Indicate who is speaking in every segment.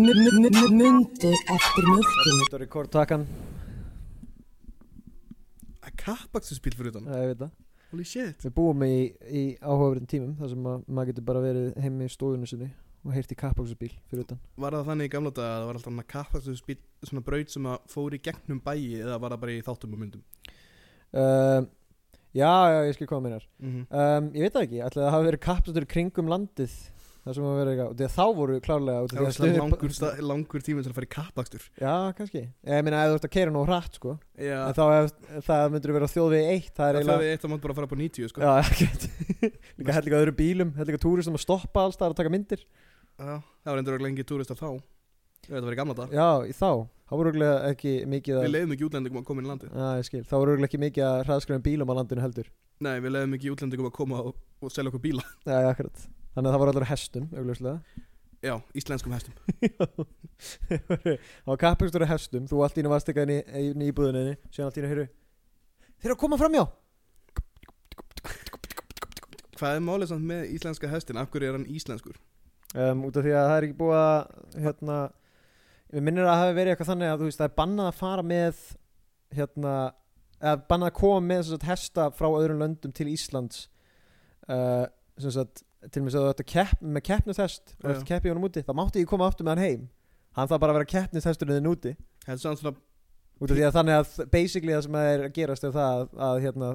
Speaker 1: Mundu eftir mjölkinni
Speaker 2: Þetta er rekordtakan,
Speaker 3: að kappakstursbíl fyrir utan
Speaker 2: það ég veit það
Speaker 3: holy shit
Speaker 2: Við búum í, í áhugaverðin tímum þar sem að maður getur bara verið heimi í stóðunni sinni og heyrt í kappaksubíl fyrir utan
Speaker 3: var það þannig í gamla daga að það var alltaf hann að kappakstursbíl svona braut sem að fór í gegnum bæi eða var það bara í þáttum og myndum
Speaker 2: uh, Já, já, ég skil hvað mér
Speaker 3: mm -hmm.
Speaker 2: um, Ég veit það ekki, ætlaði að það hafi verið kappakstur kringum landið þar sem að vera eitthvað, og þegar þá voru klárlega út af því
Speaker 3: það var
Speaker 2: að
Speaker 3: svona
Speaker 2: stuðið-
Speaker 3: langur, sta- langur tíminn til að fara í kappakstur
Speaker 2: Já, kannski, ég meina ef þú ert að keira nú hratt sko,
Speaker 3: já
Speaker 2: en þá ef, það myndur vera þjóðvegi eitt, sko. það er
Speaker 3: það
Speaker 2: eiginlega
Speaker 3: er eitt að maður bara að fara på 90 sko
Speaker 2: Já, ekkert Líka hellinga öðru bílum, hellinga túristum að stoppa alls það að taka myndir
Speaker 3: Já, það var endur lengi túristar þá Ég veit að það var í gamla daga
Speaker 2: Já, í þá, þá voru örugglega ekki mikið
Speaker 3: Við
Speaker 2: að
Speaker 3: leiðum ekki útlendingum að koma inn í landið
Speaker 2: Já, ég skil, þá voru örugglega ekki mikið að hraðskræðum bílum á landinu heldur
Speaker 3: Nei, við leiðum ekki útlendingum að koma og, og selja okkur bíla
Speaker 2: Já, já, akkurat Þannig að það voru allir á hestum, augljóslega
Speaker 3: Já, íslenskum hestum
Speaker 2: Það var kappakstur á hestum, þú allt í einu varst eitthvað inn í- inn í íbúðinni Síðan allt í einu heyru Þeir eru að koma framjá
Speaker 3: Hvað er málið samt með íslenska hestin? Af hverju er hann íslenskur?
Speaker 2: um, Út af því að það er ekki búið að hérna, Við minnir að það hafi verið eitthvað þannig að þú veist Það er bannað að fara með hérna, eða bannað að koma með sem sagt, hesta frá öðrum löndum til Íslands uh, sem sagt til og með að þú ætti að kepp, með keppnishest og
Speaker 3: Já.
Speaker 2: eftir keppi honum úti, þá mátti ég koma aftur með hann heim hann þarf bara að vera keppnishesturinn þinn úti
Speaker 3: Þetta er samt svona
Speaker 2: út af því að þannig að basically það sem er að gerast er það að, að hérna,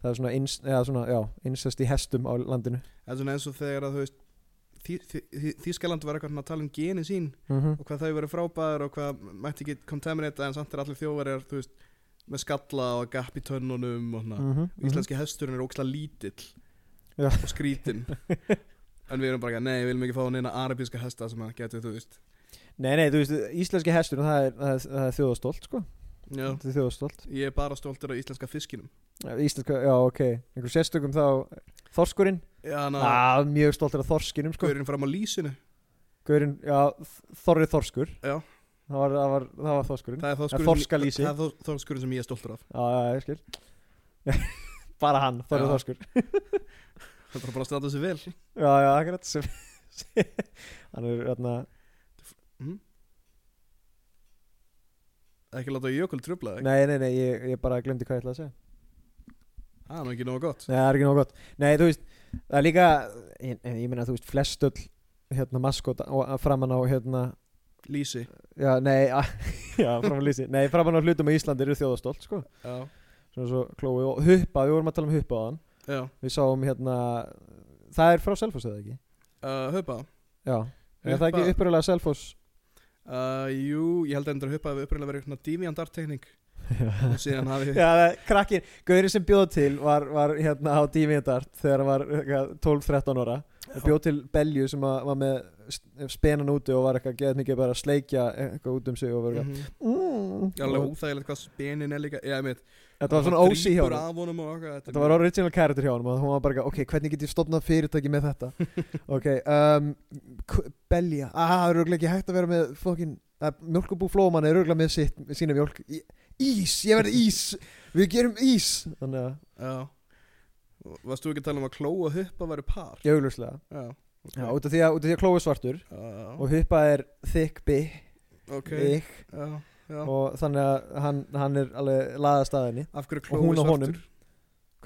Speaker 2: það er svona, ins, eða, svona já, incest í hestum á landinu
Speaker 3: Það er svona eins og þegar að þú veist Þí- Þí- Þí- Þýskaland var eitthvað svona að tala um geni sín
Speaker 2: mm -hmm.
Speaker 3: og hvað þau verið frábæður og hvað mætti ekki contaminata en samt er allir þjóðverjar þú veist, með skalla og gap í tönnunum og svona.
Speaker 2: Mhm.
Speaker 3: Íslenski hesturinn er óksla lítill
Speaker 2: Já.
Speaker 3: og skrítinn en við erum bara ekki að nei, við viljum ekki fá hann inn að arabíska hesta sem hann getur, þú veist
Speaker 2: Nei, nei, þú veist, íslenski hestur það er, það er, það er þjóðastólt, sko
Speaker 3: Já,
Speaker 2: Það er þjóðastólt
Speaker 3: ég er bara stoltur af íslenska fiskinum
Speaker 2: Íslenska, já, ok Einhver sérstökum þá Þorskurinn
Speaker 3: Já, hann að
Speaker 2: Já, mjög stoltur af þorskinum, Ah, sko
Speaker 3: gaurinn fram á lýsinu
Speaker 2: Gaurinn, já, Þ- Þorri Þorskur
Speaker 3: Já.
Speaker 2: Það var, það var, það var þorskurinn
Speaker 3: Það er þorskurinn,
Speaker 2: þorskalýsi.
Speaker 3: það er þor- þorskurinn sem ég er stoltur af
Speaker 2: Já, já, ég skil Bara hann, Þorri
Speaker 3: Já.
Speaker 2: Þorskur
Speaker 3: Það er bara að standa sig vel
Speaker 2: Já, já, akkurat sem, sem, Hann er, hérna, þarna
Speaker 3: Ekki láta jökul trubla þig
Speaker 2: Nei, nei, nei, ég, ég bara glemdi hvað ég ætlaði að segja
Speaker 3: Það er nú ekki nógu gott
Speaker 2: Nei, það er ekki nóg gott Nei, þú veist, það er líka Ég, ég meina, þú veist, flestöll Hérna, maskot framan á, hérna
Speaker 3: Lýsi
Speaker 2: Já, nei, a- já, framan á lýsi Nei, framan á hlutum á Íslandi eru þjóðastólt, sko
Speaker 3: Já,
Speaker 2: Svona svo klói og huppa, við vorum að tala um huppa á hann
Speaker 3: já
Speaker 2: Við sáum hérna Það er frá Selfoss eða ekki?
Speaker 3: uh, Huppa
Speaker 2: Já, er það ekki
Speaker 3: Huppa-
Speaker 2: upprunalega Selfoss?
Speaker 3: uh, Jú, ég held endur að huppa hafi uppræðilega verið svona deviantartekning og síðan hafi
Speaker 2: Já, það er krakkin, gaurið sem bjóð til var, var hérna á Dímiðandart þegar hann var eitthvað, 12-13 ára og bjóð til Belju sem að, var með s- spenan úti og var eitthvað geðað mikið bara að sleikja eitthvað út um sig og var eitthvað
Speaker 3: Mhm.
Speaker 2: mm.
Speaker 3: Já, alveg óþægilegt hvað spenin er líka Já, ég veit
Speaker 2: Þetta var svona ósí hjá
Speaker 3: Drýpur
Speaker 2: hann
Speaker 3: af honum og okkar
Speaker 2: Þetta var original character hjá honum og hún var bara eitthvað, ok, hvernig get ég stofnað fyrirtæki með þetta ok, um, k- belja ah, það er örugglega ekki hægt að vera með fokkin mjölkubú flóman er örugglega með sitt sína mjölk, Í- ís, ég verði ís við gerum ís þannig að,
Speaker 3: Já Varst þú ekki að tala um að klóa og huppa væri par
Speaker 2: ég augljóslega
Speaker 3: Já, ok.
Speaker 2: Já, út af því að, út af því að klói svartur
Speaker 3: Já,
Speaker 2: og huppa er thick bi
Speaker 3: ok
Speaker 2: big,
Speaker 3: Já, já
Speaker 2: og þannig að hann, hann er alveg laðast að henni
Speaker 3: Af hverju
Speaker 2: og
Speaker 3: klói
Speaker 2: hún og honum
Speaker 3: svartur?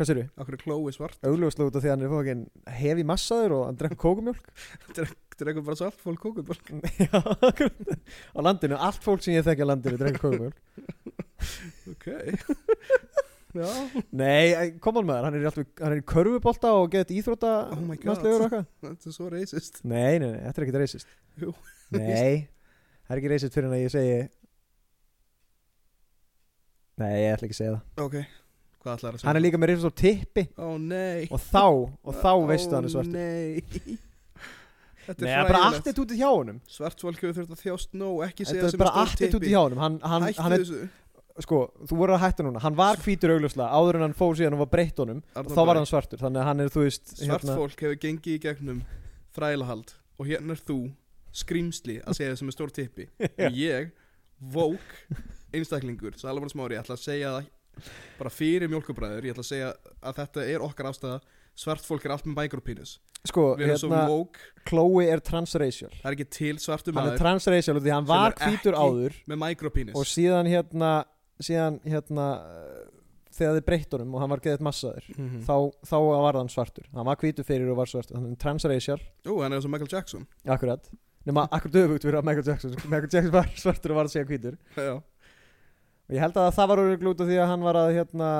Speaker 2: hvað sér við?
Speaker 3: Af hverju klói svart?
Speaker 2: augljóslega út af því að hann er fokkin hefi massaður og hann drekkur kókumjölk
Speaker 3: Þetta er eitthvað bara svart fólk kókuð
Speaker 2: Já, akkurat. á landinu, allt fólk sem ég þekki á landinu drengur kókumjólk
Speaker 3: Ok Já
Speaker 2: Nei, koman maður, hann er, alltaf, hann er í körfubolta og getur íþróta
Speaker 3: Oh my God.
Speaker 2: landsliður og eitthvað
Speaker 3: Þetta er svo racist
Speaker 2: nei, nei, nei, þetta er ekkit reysist
Speaker 3: Jú.
Speaker 2: Nei, það er ekki reysist fyrir en að ég segi Nei, ég ætla ekki að segja það
Speaker 3: Ok Hvað ætlar það að segja?
Speaker 2: Hann er líka með reysist á tippi
Speaker 3: Ó nei
Speaker 2: og þá, og þá veistu að hann er svartur
Speaker 3: Ó nei Þetta
Speaker 2: Nei, það
Speaker 3: er
Speaker 2: er bara
Speaker 3: hræðilegt.
Speaker 2: attitútið hjá honum
Speaker 3: Svart fólk hefur þurft að þjást nóg Ekki segja
Speaker 2: Þetta er bara attitútið hjá honum Hann, hann,
Speaker 3: Hættu
Speaker 2: hann er,
Speaker 3: þessu
Speaker 2: sko, þú voru að hætta núna Hann var hvítur augljóslega áður en hann fór síðan og var breytt honum og þá var hann hérna- svartur Þannig að hann er, þú veist
Speaker 3: Svart fólk hefur gengið í gegnum Þrælahald Og hérna er þú Skrýmsli að segja þessum með stór tippi Og ég Vók Einstaklingur Salomon Smári Ég ætla að segja það Bara fyrir mjólkubræður Ég ætla að segja að þetta er okkar ástæða Svart fólk er allt með micropinus
Speaker 2: Sko,
Speaker 3: Við erum svo
Speaker 2: hérna,
Speaker 3: vók
Speaker 2: Chloe er transracial
Speaker 3: Það er ekki til svartu
Speaker 2: Hann er
Speaker 3: maður
Speaker 2: transracial út af því hann
Speaker 3: sem
Speaker 2: var
Speaker 3: er
Speaker 2: hvítur
Speaker 3: ekki-
Speaker 2: áður
Speaker 3: Með micropinus
Speaker 2: og síðan hérna síðan hérna uh, þegar þið breytt honum og hann var geðið massaður
Speaker 3: Mhm.
Speaker 2: þá, þá var hann svartur hann var hvítur fyrir og var svartur þannig að transracial,
Speaker 3: Ú, hann er eins og Michael Jackson
Speaker 2: akkurat nema akkurat öfugt fyrir að Michael Jackson Michael Jackson var svartur og var síðan hvítur
Speaker 3: Já
Speaker 2: og ég held að það var örugglega út af því að hann var að hérna,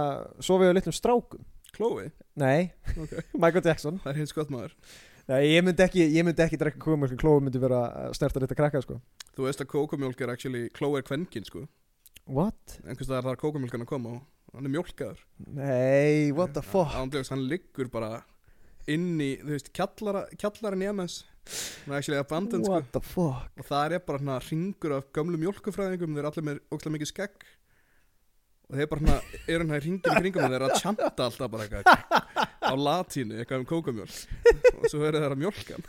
Speaker 2: sofið á litlum strákum
Speaker 3: Chloe
Speaker 2: nei,
Speaker 3: Ok.
Speaker 2: Michael Jackson
Speaker 3: Það er hins gott maður
Speaker 2: nei, ég myndi ekki, ég myndi ekki drekka kókumjölk klófi myndi vera að snerta þetta krakka sko.
Speaker 3: Þú veist að kókumjólk er actually Chloe er kvenkin sko
Speaker 2: what?
Speaker 3: einhvers staðar þar kókumjölkan að koma og hann er mjólkaður
Speaker 2: nei, what the fuck
Speaker 3: Ándjóks, hann liggur bara inn í, þú veist, kjallara, kjallarin í MS hann er actually abandoned sko.
Speaker 2: what the fuck
Speaker 3: og það er bara hann að ringur af gömlu mjólkufræðingum þeir eru allir með ókslega mikið skegg og þeir bara hann eru hann að ringin í kringum og þeir eru að chanta alltaf bara eitthvað á latínu, eitthvað um kókumjólk og svo eru þeir að mjólka hann.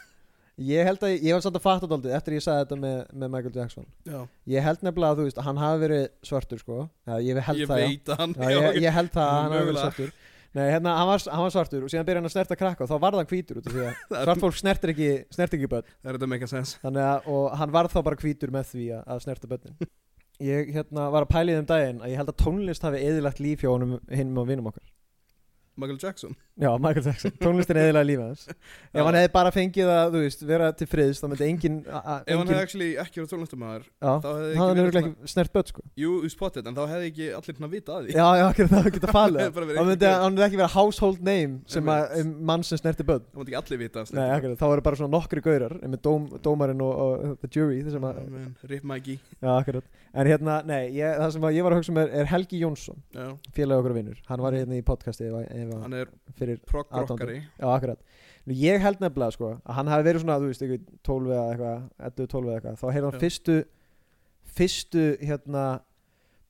Speaker 2: Ég held að, ég var samt að fatta daldið eftir ég sagði þetta með, með Michael Jackson
Speaker 3: Já,
Speaker 2: Ég held nefnilega að þú veist, hann hafi verið svartur sko Já, ég held
Speaker 3: ég
Speaker 2: það, já.
Speaker 3: veit að hann
Speaker 2: já ég, ég held það að hann hafi verið
Speaker 3: Mögulega.
Speaker 2: svartur Nei, hérna, hann var, hann var svartur og síðan byrja hann að snerta krakka og þá varð hann hvítur út af því að
Speaker 3: Það er-
Speaker 2: svart fólk snertir ekki, snertir ekki börn
Speaker 3: það er þetta make a sense
Speaker 2: Þannig að, og hann varð þá bara hvítur með því að, að snerta börnin Ég hérna var að pæli þeim daginn að ég held að tónlist hafi eðilagt líf hjá honum hinn og vinum okkar
Speaker 3: Michael Jackson
Speaker 2: Já, Michael Jackson, tónlistin eðilega líf hans Ef hann hefði bara fengið að, þú veist, vera til friðs þá myndi engin, a- a-
Speaker 3: ef hann
Speaker 2: engin
Speaker 3: hefði actually ekki verið tónlistamæður
Speaker 2: Já,
Speaker 3: þá hefði
Speaker 2: hann er
Speaker 3: verið
Speaker 2: örugglega ekki snert börn sko
Speaker 3: Jú, you spot it, en þá hefði ekki allir hérna vita að því
Speaker 2: Já, já, ekki það geta falið
Speaker 3: Bara verið
Speaker 2: Hann myndi,
Speaker 3: einhver-
Speaker 2: hann myndi ekki vera household name sem að um mann sem snerti börn
Speaker 3: Það mátti ekki allir vita
Speaker 2: Nei, ekki, þá eru bara svona nokkri gaurar með dóm, dómarinn og, og the jury þessum að,
Speaker 3: Oh, Man, Rip Maggie
Speaker 2: já, akkurat En hérna, nei, ég, það sem að ég var að hugsa um er, er Helgi Jónsson,
Speaker 3: Já,
Speaker 2: félagi okkur og vinnur Hann var hérna í podcasti ef, að- ef,
Speaker 3: Mhm. Hann
Speaker 2: að-
Speaker 3: er
Speaker 2: fyrir,
Speaker 3: prog-rockari
Speaker 2: já, akkurat Nú, Ég held nefnilega, sko, að hann hafi verið svona, þú veist, ykkur 12 eða eitthvað, 11, 12 eða eitthvað Þá heyrði hann
Speaker 3: Já.
Speaker 2: fyrstu, fyrstu, hérna,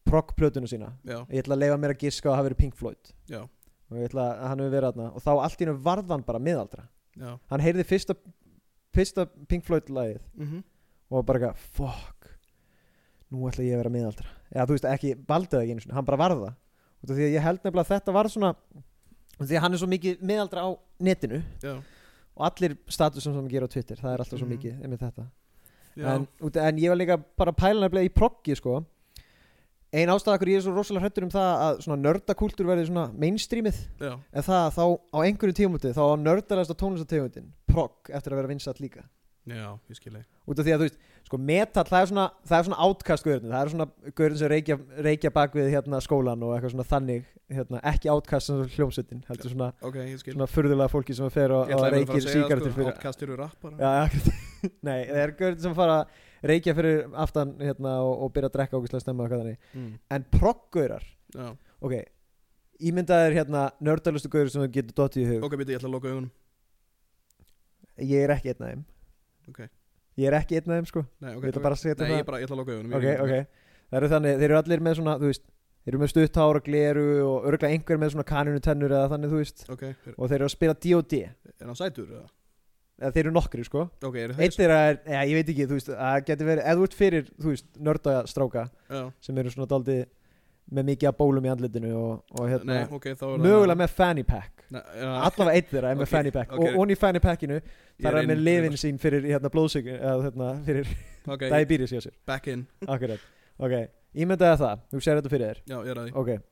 Speaker 2: progplötuna sína
Speaker 3: Já,
Speaker 2: ég ætla að leifa mér að giska að það hafi verið Pink Floyd
Speaker 3: já,
Speaker 2: og ég ætla að hann hefur verið aðna og þá allt í hennu varð hann bara miðaldra
Speaker 3: já
Speaker 2: hann heyrði fyrsta, fyrsta Pink Floyd lagið
Speaker 3: mm
Speaker 2: og var bara eitthvað, fuck nú ætla ég að vera miðaldra eða þú veist ekki, valdi það ekki einu sinni, hann bara varð það og því að ég held nefnilega að þetta var svona út af því að hann er svo mikið miðaldra á netinu
Speaker 3: Já,
Speaker 2: og allir statusum sem hann gerir á Twitter það er alltaf svo
Speaker 3: Mhm.
Speaker 2: mikið, einmitt þetta
Speaker 3: já
Speaker 2: en, út, en ég var líka bara pælan að í proggi sko. ein ástæða okkur ég er svo rosalega hrættur um það að svona nördakultúr verði svona mainstreamið
Speaker 3: Já,
Speaker 2: en það að þá á einhverju tímúti þá á nördalegasta tónlistategundin progg eftir að vera vinsat líka
Speaker 3: já, ég skilji
Speaker 2: út af því að þú veist sko metal það er svona það er svona átkast guðurinn það er svona guðurinn sem reykja, reykja bak við hérna skólan og eitthvað svona þannig hérna ekki átkast sem hljómsveitin heldur svona
Speaker 3: Ok, ég skil
Speaker 2: svona furðulega fólki sem fer og,
Speaker 3: Ég
Speaker 2: og
Speaker 3: ætlaði bara að fara
Speaker 2: reykir
Speaker 3: að segja
Speaker 2: síkartir
Speaker 3: sko,
Speaker 2: fyrir
Speaker 3: Outcast eru rappara
Speaker 2: Já, akkurat Nei, það er gaurinn sem fara að reykja fyrir aftan hérna og, og byrja að drekka ógustlega stemma og hvað þannig
Speaker 3: mm.
Speaker 2: En proggaurar,
Speaker 3: já.
Speaker 2: ok Ímyndaðir hérna nördalustu gaurir sem þú getur dottið í hug
Speaker 3: Ok, býti, ég ætla að loka augunum
Speaker 2: Ég er ekki einn af þeim
Speaker 3: Ok.
Speaker 2: Ég er ekki einn af þeim sko
Speaker 3: Nei, ok
Speaker 2: Ég ætla bara að setja
Speaker 3: Nei, ég
Speaker 2: það
Speaker 3: bara, ég ætla að loka augunum
Speaker 2: Ok,
Speaker 3: ég er
Speaker 2: ok
Speaker 3: ekki-
Speaker 2: Það eru þannig, þeir eru allir með svona, þú veist Þeir eru með stutthára, gleru og örgulega einhver með svona kaninu tennur eða þannig, þú veist
Speaker 3: Ok, er,
Speaker 2: Og þeir eru að spila D.O.D.
Speaker 3: er hann sætur? eða?
Speaker 2: Eða þeir eru nokkri, sko
Speaker 3: Ok, er það
Speaker 2: Eitt er að, já, ég veit ekki, þú veist, að geti verið Eða þú ert fyrir, þú veist, nördastráka
Speaker 3: Já,
Speaker 2: sem eru svona daldið með mikið að bólum í andlitinu og, og hérna,
Speaker 3: nei, ok, þá er það-
Speaker 2: mögulega með fanny pack
Speaker 3: Nei, já,
Speaker 2: allavega eitt þeirra er með
Speaker 3: Ok,
Speaker 2: fanny pack
Speaker 3: ok.
Speaker 2: og onni fanny packinu
Speaker 3: ég
Speaker 2: þar er hann
Speaker 3: inn.
Speaker 2: með lifin sín fyrir hérna, blóðsík eða hérna, fyrir
Speaker 3: Ok,
Speaker 2: diabetes hjá sér
Speaker 3: back in
Speaker 2: akkurat, ok, ímyndaði það þú sér þetta fyrir
Speaker 3: Já, ég er að því
Speaker 2: þér ok,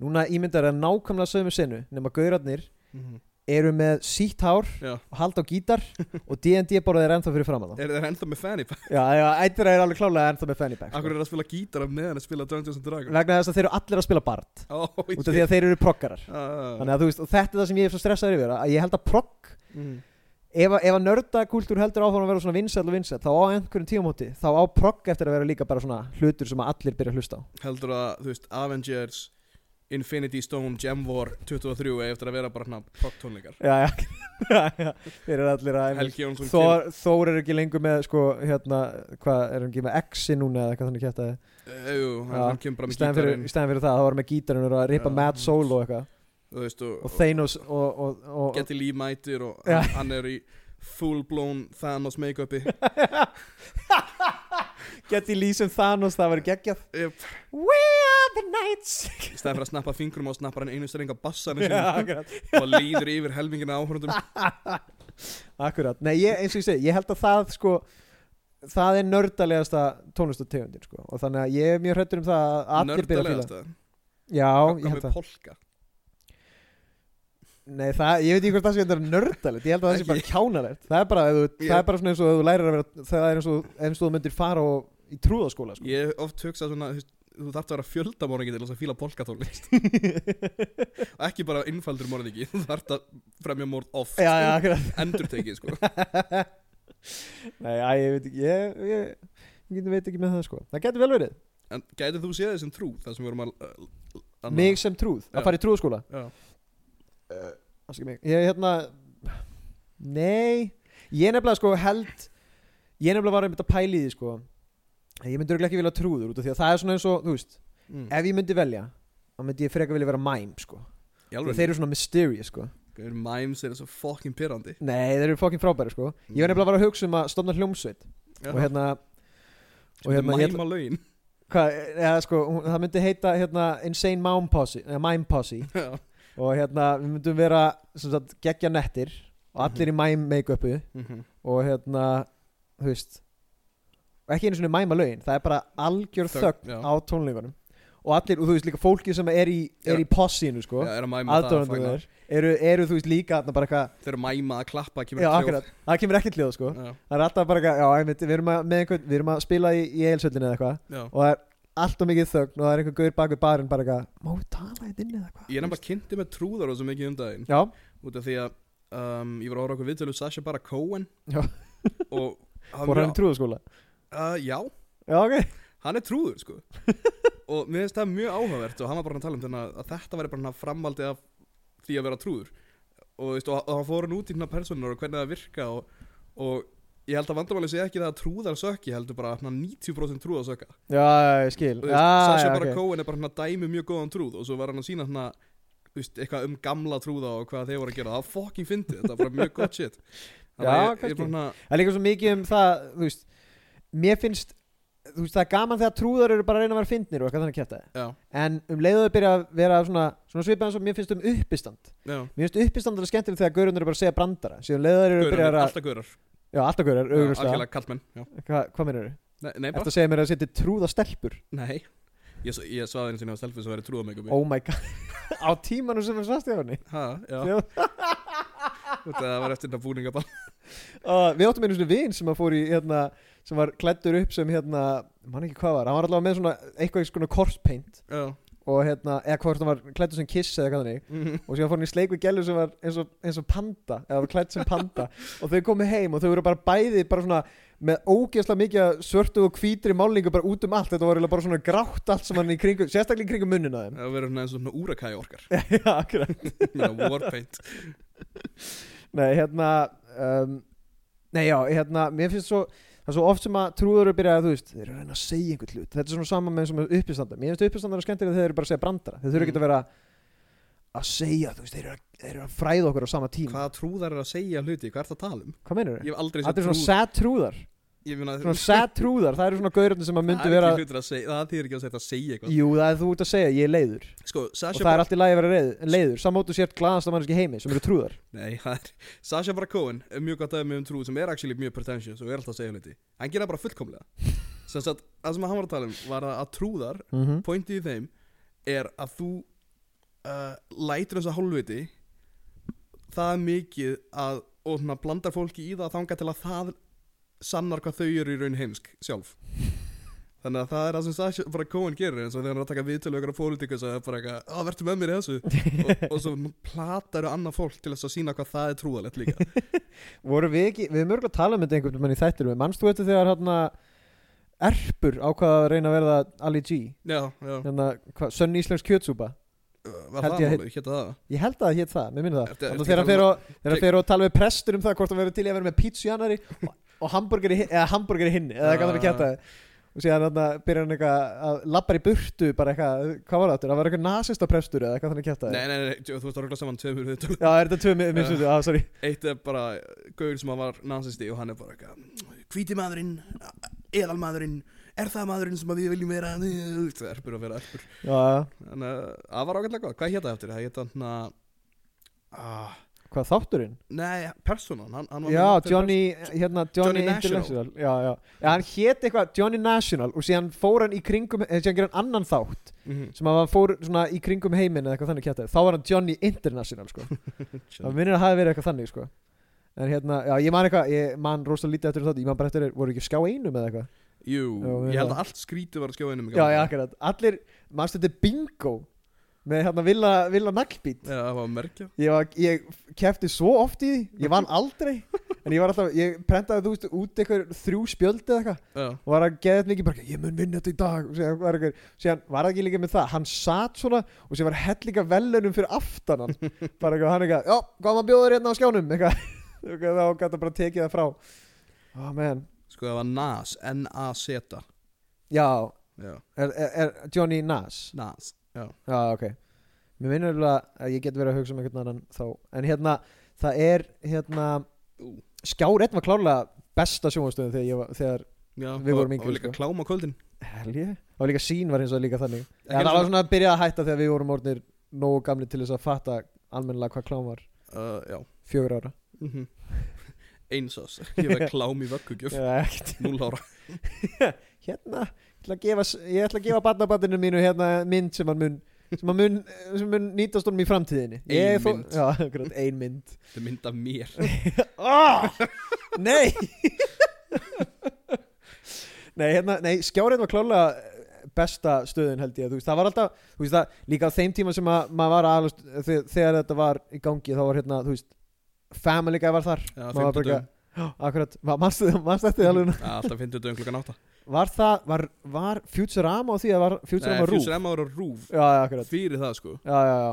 Speaker 2: núna ímyndaði það nákvæmlega sömu sinu nema gaurarnir
Speaker 3: Mhm.
Speaker 2: eru með sítt hár
Speaker 3: Já.
Speaker 2: og hald á gítar og D&D borðið er ennþá fyrir framann
Speaker 3: Er það ennþá með fanny pack?
Speaker 2: já, já, eitt þeirra er alveg klálega ennþá með fanny pack
Speaker 3: Akkur
Speaker 2: sko.
Speaker 3: er að spila gítar af meðan að spila Dungeons and Dragons
Speaker 2: vegna þess að þeir eru allir að spila bard
Speaker 3: Ó, Ah,
Speaker 2: út af því að þeir eru proggarar
Speaker 3: Þannig
Speaker 2: Þannig að þú veist, og þetta er það sem ég er svo stressaður yfir að ég held að progg, ef, að- ef að nördakultúr heldur áfram að vera svona vinsæll og vinsæll þá á einhverjum tíumóti, þá á progg eftir að vera líka bara svona hlutur sem að allir byrja að hlusta á
Speaker 3: Heldur að, þú veist, Avengers Infinity Stone Gem War 23 eftir að vera bara hérna poktónleikar
Speaker 2: já, já, já, já þeir eru allir að
Speaker 3: Helgi Jónsson Thor...
Speaker 2: Þór, Þór er ekki lengur með sko, hérna, hvað, er hann ekki með X-i núna eða hvað þannig kjæftaði
Speaker 3: uh, jú, hann,
Speaker 2: Já,
Speaker 3: hann kemur bara
Speaker 2: í
Speaker 3: með
Speaker 2: stæðan fyrir, í
Speaker 3: gítarinn
Speaker 2: staðinn fyrir það, það var hann með gítarinn og er að ripa
Speaker 3: Já.
Speaker 2: Mad Soul og eitthvað
Speaker 3: þú veist, og,
Speaker 2: og Thanos og, og, og,
Speaker 3: Getty Lee mætir og
Speaker 2: Já.
Speaker 3: hann, hann er í full blown Thanos make-upi
Speaker 2: Getty Lee sem Thanos, það var geggjað
Speaker 3: Yep.
Speaker 2: We are the knights
Speaker 3: í stæðan fyrir að snappa fingrum og snappar hann einu streng á bassanu
Speaker 2: Já,
Speaker 3: sinni
Speaker 2: akkurat.
Speaker 3: og líður yfir helmingina áhörundum
Speaker 2: Akkurat, nei ég, eins og ég segi, ég held að það sko það er nördalegasta tónlistategundin sko og þannig að ég er mjög hrættur um það að allir byrja að fíla
Speaker 3: það
Speaker 2: Já, ég
Speaker 3: hvað
Speaker 2: held
Speaker 3: sko. með
Speaker 2: það
Speaker 3: polka
Speaker 2: Nei, það, ég veit ekki hvort það sé þetta nördalegt Ég held að það sé
Speaker 3: Ekki.
Speaker 2: bara kjánalegt Það er bara, ef þú,
Speaker 3: Ég-
Speaker 2: það er bara svona eins og ef þú lærir að vera það er eins og eins og þú myndir fara og, í trúðaskóla sko.
Speaker 3: ég hef oft hugsað svona þú veist, þú þarft að vera fjöldamorðingi til þess að fíla polkatónlist og ekki bara innfaldur morðingi þú þarft að fremja morð oft
Speaker 2: Já, já, akkurat
Speaker 3: endurtekið sko
Speaker 2: Nei, æ, ég veit ekki Ég, ég, ég, ég veit ekki með það sko Það getur vel verið,
Speaker 3: en gætið þú séð þessum trú það sem við vorum að uh, annað-
Speaker 2: mig sem trúð
Speaker 3: Já. Eh.
Speaker 2: að fara í trúðaskóla
Speaker 3: já.
Speaker 2: Afsakið mig. Ég hérna Nei Ég nefnilega sko held Ég nefnilega var einmitt að pæli því sko Ég myndi örugglega ekki vilja trúður út af því að það er svona eins og Þú veist,
Speaker 3: Mm.
Speaker 2: ef ég myndi velja Þá myndi ég frekar vilja vera mime sko
Speaker 3: í
Speaker 2: Því
Speaker 3: alveg
Speaker 2: Þeir eru svona mysterious sko
Speaker 3: þeir... mæms er svo fucking pyrrandi
Speaker 2: Nei, þeir eru fokkin frábæri sko Ég
Speaker 3: Mm.
Speaker 2: var nefnilega að vera að hugsa um að stofna hljómsveit Og hérna Og hérna, ég,
Speaker 3: mæma lögin
Speaker 2: hvað, ja, sko, hún- það myndi heita hérna, Insane Mime Posse, eh, Mime Posse
Speaker 3: Já.
Speaker 2: Og hérna, við myndum vera sem sagt, Geggja nettir Og allir í mime make-upu
Speaker 3: Mhm.
Speaker 2: og hérna þú veist og ekki einu svona mæma lögin, það er bara algjör
Speaker 3: Þögn,
Speaker 2: þögn
Speaker 3: já.
Speaker 2: á tónleikunum og allir, og þú veist líka fólki sem er í, er í possinu sko,
Speaker 3: Já, er að mæma það að
Speaker 2: aðdóðandu
Speaker 3: fagna.
Speaker 2: þeir eru, eru þú veist líka þarna bara eitthvað,
Speaker 3: þeir eru að mæma að klappa kemur
Speaker 2: já
Speaker 3: hljóð.
Speaker 2: akkurat það kemur ekkert hljóð sko,
Speaker 3: já,
Speaker 2: það er alltaf bara eitthvað já, einmitt, við erum að, með einhvern, við erum að spila í, í eilsöldinu eða eitthvað
Speaker 3: já.
Speaker 2: og það er alltaf mikið þögn og það er einhver gaur bak við barinn bara eitthvað, má við tala þetta inn eða eitthvað
Speaker 3: ég er nefnilega kynnti með trúðar og svo mikið um daginn
Speaker 2: já,
Speaker 3: út af því að um, ég var að horfa okkur viðtölu Sasha Bara Cohen
Speaker 2: Já.
Speaker 3: og hann
Speaker 2: fór hann í trúðaskóla
Speaker 3: uh, já,
Speaker 2: já ok,
Speaker 3: hann er trúður sko og mér finnst það mjög áhugavert og hann var bara að tala um þennan að- að þetta væri bara hann framaldið af því að vera trúður og, veist, og, og hann fór hann út í hérna personur og hvernig það virka og, og ég held að vandamáli sé ekki það að trúðar sökki ég heldur bara að hérna 90% trúðar sökka
Speaker 2: já, já, ég skil
Speaker 3: Og þú
Speaker 2: já,
Speaker 3: veist, Sasha
Speaker 2: já,
Speaker 3: Baron
Speaker 2: ok.
Speaker 3: Cohen er bara hann að dæmi um mjög góðan trúð og svo var hann að sína hann að veist, eitthvað um gamla trúða og hvað þeir voru að gera það var fucking fyndið, þetta var bara mjög gott shit
Speaker 2: Já,
Speaker 3: Þannig að ég, ég er bara svona,
Speaker 2: Það er líka svo mikið um það, þú veist Mér finnst, þú veist, það er gaman þegar trúðar eru bara að reyna að vera fyndnir og eitthvað þannig kjæftaði
Speaker 3: já,
Speaker 2: En um leiðu þau byrja að vera svona, svona svipað eins og mér finnst um uppistand
Speaker 3: já
Speaker 2: Mér finnst uppistand alveg skemmtileg þegar gaurunir eru bara að segja brandara Síðan um leiðu þau eru að byrja
Speaker 3: Gaurar,
Speaker 2: að,
Speaker 3: alltaf gaurar,
Speaker 2: já, alltaf gaurar, auðvitað
Speaker 3: algjörlega kallmenn já.
Speaker 2: Hvað, hvað meinar þau?
Speaker 3: Nei, nei,
Speaker 2: Eftir
Speaker 3: bara,
Speaker 2: að segja mér að setja trúða stelpur
Speaker 3: nei Ég, s- ég svaði henni sinni á stelfið sem verið trúða mig
Speaker 2: Oh my god, á tímanum sem við svast ég á henni
Speaker 3: Ha, já
Speaker 2: Já.
Speaker 3: Þetta það var eftir þetta búningaball
Speaker 2: uh, Við áttum einu svona vin sem að fór í, hérna sem var klættur upp sem hérna, mann ekki hvað var, hann var allavega með svona eitthvað svona korspaint
Speaker 3: Já,
Speaker 2: og hérna, eða hvort hann var klættur sem kiss eða hvað þannig,
Speaker 3: Mhm.
Speaker 2: og síðan fór hann í sleik við gælu sem var eins og, eins og panda eða var klætt sem panda, og þau komu heim og þau voru bara bæði, bara svona með ógeðslega mikið af svörtu og hvítri málningu bara út um allt, þetta var eiginlega bara svona grátt allt sem hann í kringum, sérstaklega í kringum munnina þeim
Speaker 3: það verið eins og svona úrakæði orkar
Speaker 2: Já, akkurat
Speaker 3: Warpaint
Speaker 2: Nei, hérna um, Nei, já, hérna, mér finnst svo það er svo oft sem að trúður eru byrjað að þú veist þeir eru að reyna að segja einhvern hlut, þetta er svona sama með, eins og með uppistandar, mér finnst uppistandar skemmtilega þegar þeir eru bara að segja brandara, þeir þurfa ekki
Speaker 3: Mm.
Speaker 2: að vera að segja, þú veist, þeir eru að, þeir eru að fræða okkur á sama tíma,
Speaker 3: Hvaða trúðar er að segja hluti, hvað er það að tala um?
Speaker 2: hvað meinar
Speaker 3: Ég
Speaker 2: þau?
Speaker 3: hef aldrei
Speaker 2: Þetta er svona sad trúðar
Speaker 3: Ég meina,
Speaker 2: svona sad trúðar, það eru svona gaurarnir sem að myndu vera,
Speaker 3: Það er ekki hlutur sko. að segja, það þýðir ekki að segja að segja eitthvað
Speaker 2: jú, það er þú út að segja ég er leiður,
Speaker 3: Sko,
Speaker 2: og
Speaker 3: Sasha
Speaker 2: það er
Speaker 3: Bar
Speaker 2: allt í lagi að vera reiður- leiður samótu sért glaðast að manneski heimi sem eru trúðar
Speaker 3: Nei, það er Sasha Baron Cohen er mjög gott aðeins með um trú sem er actually mjög pretentious og er alltaf að segja hluti Hann gera bara fullkomlega Sem sagt, það sem hann var að tala um var að- að trúðar
Speaker 2: Mhm.
Speaker 3: Pointið í þeim er að þú uh, lætir þess að hálfviti það er mikið að og svona blandar fólki í það þanga til að það sannar hvað þau eru í raun heimsk sjálf þannig að það er það sem Sasha bara Cohen gerir eins og þegar hann er að taka viðtölu ykkur á pólitíkus að það er bara eitthvað, að verður með mér í þessu og, og svo plataru annað fólk til þess að sína hvað það er trúðalegt líka
Speaker 2: voru við ekki, við erum örgulega að tala um þetta einhvern veginn í þættirum, mannst þú þetta þegar hérna erpur ákvaða að reyna að verða Ali G,
Speaker 3: já, já,
Speaker 2: hérna, hva, sönn íslensk kjötsúpa
Speaker 3: Var
Speaker 2: Held
Speaker 3: það
Speaker 2: ég að-
Speaker 3: málið, geta það
Speaker 2: Ég held að það hétt það, mér minnir það
Speaker 3: Ertu-
Speaker 2: Þannig
Speaker 3: ertu
Speaker 2: að þegar hann
Speaker 3: að
Speaker 2: fer
Speaker 3: tala um-
Speaker 2: og- þegar hann fer og tala við prestur um það hvort hann verður til í að vera með pítsu í annari og, og hamburgeri, hi- eða hamburgeri hinn eða hvað hann er
Speaker 3: Já,
Speaker 2: kjátt að og síðan hann byrjar hann eitthvað að labbar í burtu bara eitthvað, hvað var það aftur, það var eitthvað nasista prestur eða hvað hann er kjátt að
Speaker 3: Nei, nei, nei, þú þú ert að rögla saman tveimur við tölum
Speaker 2: Já, er þetta tvö minn stundu, já, sorry
Speaker 3: Eitt er bara Gauður sem var nazisti og hann er bara eitthvað Hvíti maðurinn, eðalmaðurinn Er það maðurinn sem að við viljum vera Það er erpur að vera erpur
Speaker 2: Já, já.
Speaker 3: Þannig að það var ágætlega gott Hvað hétta eftir? Það hétta hann að ah,
Speaker 2: hvað þátturinn?
Speaker 3: Nei, personan hann, hann var með
Speaker 2: Já,
Speaker 3: nafn fyrir
Speaker 2: Johnny, hérna, Johnny,
Speaker 3: Johnny National.
Speaker 2: International Já, já, já, hann hét eitthvað Johnny National og síðan fór hann í kringum eh, síðan gerir hann annan þátt
Speaker 3: person- Mhm.
Speaker 2: sem að hann fór svona í kringum heiminn eða eitthvað þannig kjátt þá var hann Johnny International, sko
Speaker 3: Johnny.
Speaker 2: Það minnir að hafi verið eitthvað þannig sko En hérna, já ég man eitthvað, ég man rosa lítið eftir þátt Ég man bara eftir, voru ekki á skjá einum eða eitthvað
Speaker 3: Jú,
Speaker 2: Já,
Speaker 3: ég held
Speaker 2: já.
Speaker 3: að allt skrítið var að skjóða einum í
Speaker 2: Já,
Speaker 3: gamla
Speaker 2: já,
Speaker 3: daga.
Speaker 2: akkurat, allir, mannstu þetta er bingo Með hérna Villa, Villa Naglbít
Speaker 3: Já, það var að merkja
Speaker 2: Ég, var, ég kefti svo oft í því, ég vann aldrei En ég var alltaf, ég prentaði þú veist út eitthvað þrjú spjöld eða eitthvað
Speaker 3: Já,
Speaker 2: Og var að geða þetta mikið bara, ég mun vinna þetta í dag Og síðan var, eitthvað, síðan var það ekki líka með það, hann satt svona Og síðan var hellinga velunum fyrir aftan hann Bara eitthvað, hann eitthvað, já, góðan bjóður hérna á skjánum Eitthvað, eitthvað þá gæti hann bara tekið það frá Ah, Ó, menn,
Speaker 3: sko það var NAS, N-A-Z
Speaker 2: já,
Speaker 3: Já,
Speaker 2: er, er, er Johnny Nas
Speaker 3: NAS Já,
Speaker 2: Já, ok Mér minnur alveg að ég get verið að hugsa um einhvern annan þá En hérna, það er, hérna
Speaker 3: Ú.
Speaker 2: Skjár 1 var klárlega besta sjónvastöðum þegar, ég var- þegar
Speaker 3: já
Speaker 2: Við vorum yngri,
Speaker 3: Og líka
Speaker 2: sko.
Speaker 3: kláma kvöldin
Speaker 2: helgi Og líka sín var hins og líka þannig
Speaker 3: Ekki
Speaker 2: Já, það
Speaker 3: einu
Speaker 2: var svona að byrja að hætta þegar við vorum orðnir nógu gamli til þess að fatta almennilega hvað klám var
Speaker 3: Uh, já
Speaker 2: fjögur ára
Speaker 3: mm -hmm. Eins ás Ég var klám í vöggugjöf
Speaker 2: Eða ekkert.
Speaker 3: Núl ára
Speaker 2: Hérna, ég ætla að gefa, s- ég ætla að gefa barnabatinu mínu hérna mynd sem hann mun sem hann mun, sem mun nýtast honum í framtíðinni Ég
Speaker 3: Ein
Speaker 2: þó-
Speaker 3: mynd.
Speaker 2: Já, akkurat, ein mynd
Speaker 3: Þetta er mynd af mér
Speaker 2: oh, Nei Nei, hérna, nei, skjárið var klálega besta stöðin held ég þú veist, það var alltaf, þú veist það, líka á þeim tíma sem að, maður var aðalast, þegar, þegar þetta var í gangi, þá var hérna, þú veist Family Guy var þar,
Speaker 3: Já,
Speaker 2: Maður var bara
Speaker 3: fimmtudögum
Speaker 2: akkurat mannstu þetta alveg,
Speaker 3: Já, Alltaf fimmtudögum klukkan átta
Speaker 2: var það var, var Futurama á því að var Futurama
Speaker 3: Nei,
Speaker 2: Rúf?
Speaker 3: Future Emma var á rúf
Speaker 2: Já, já, akkurat
Speaker 3: Fyrir það sko
Speaker 2: já, já, já.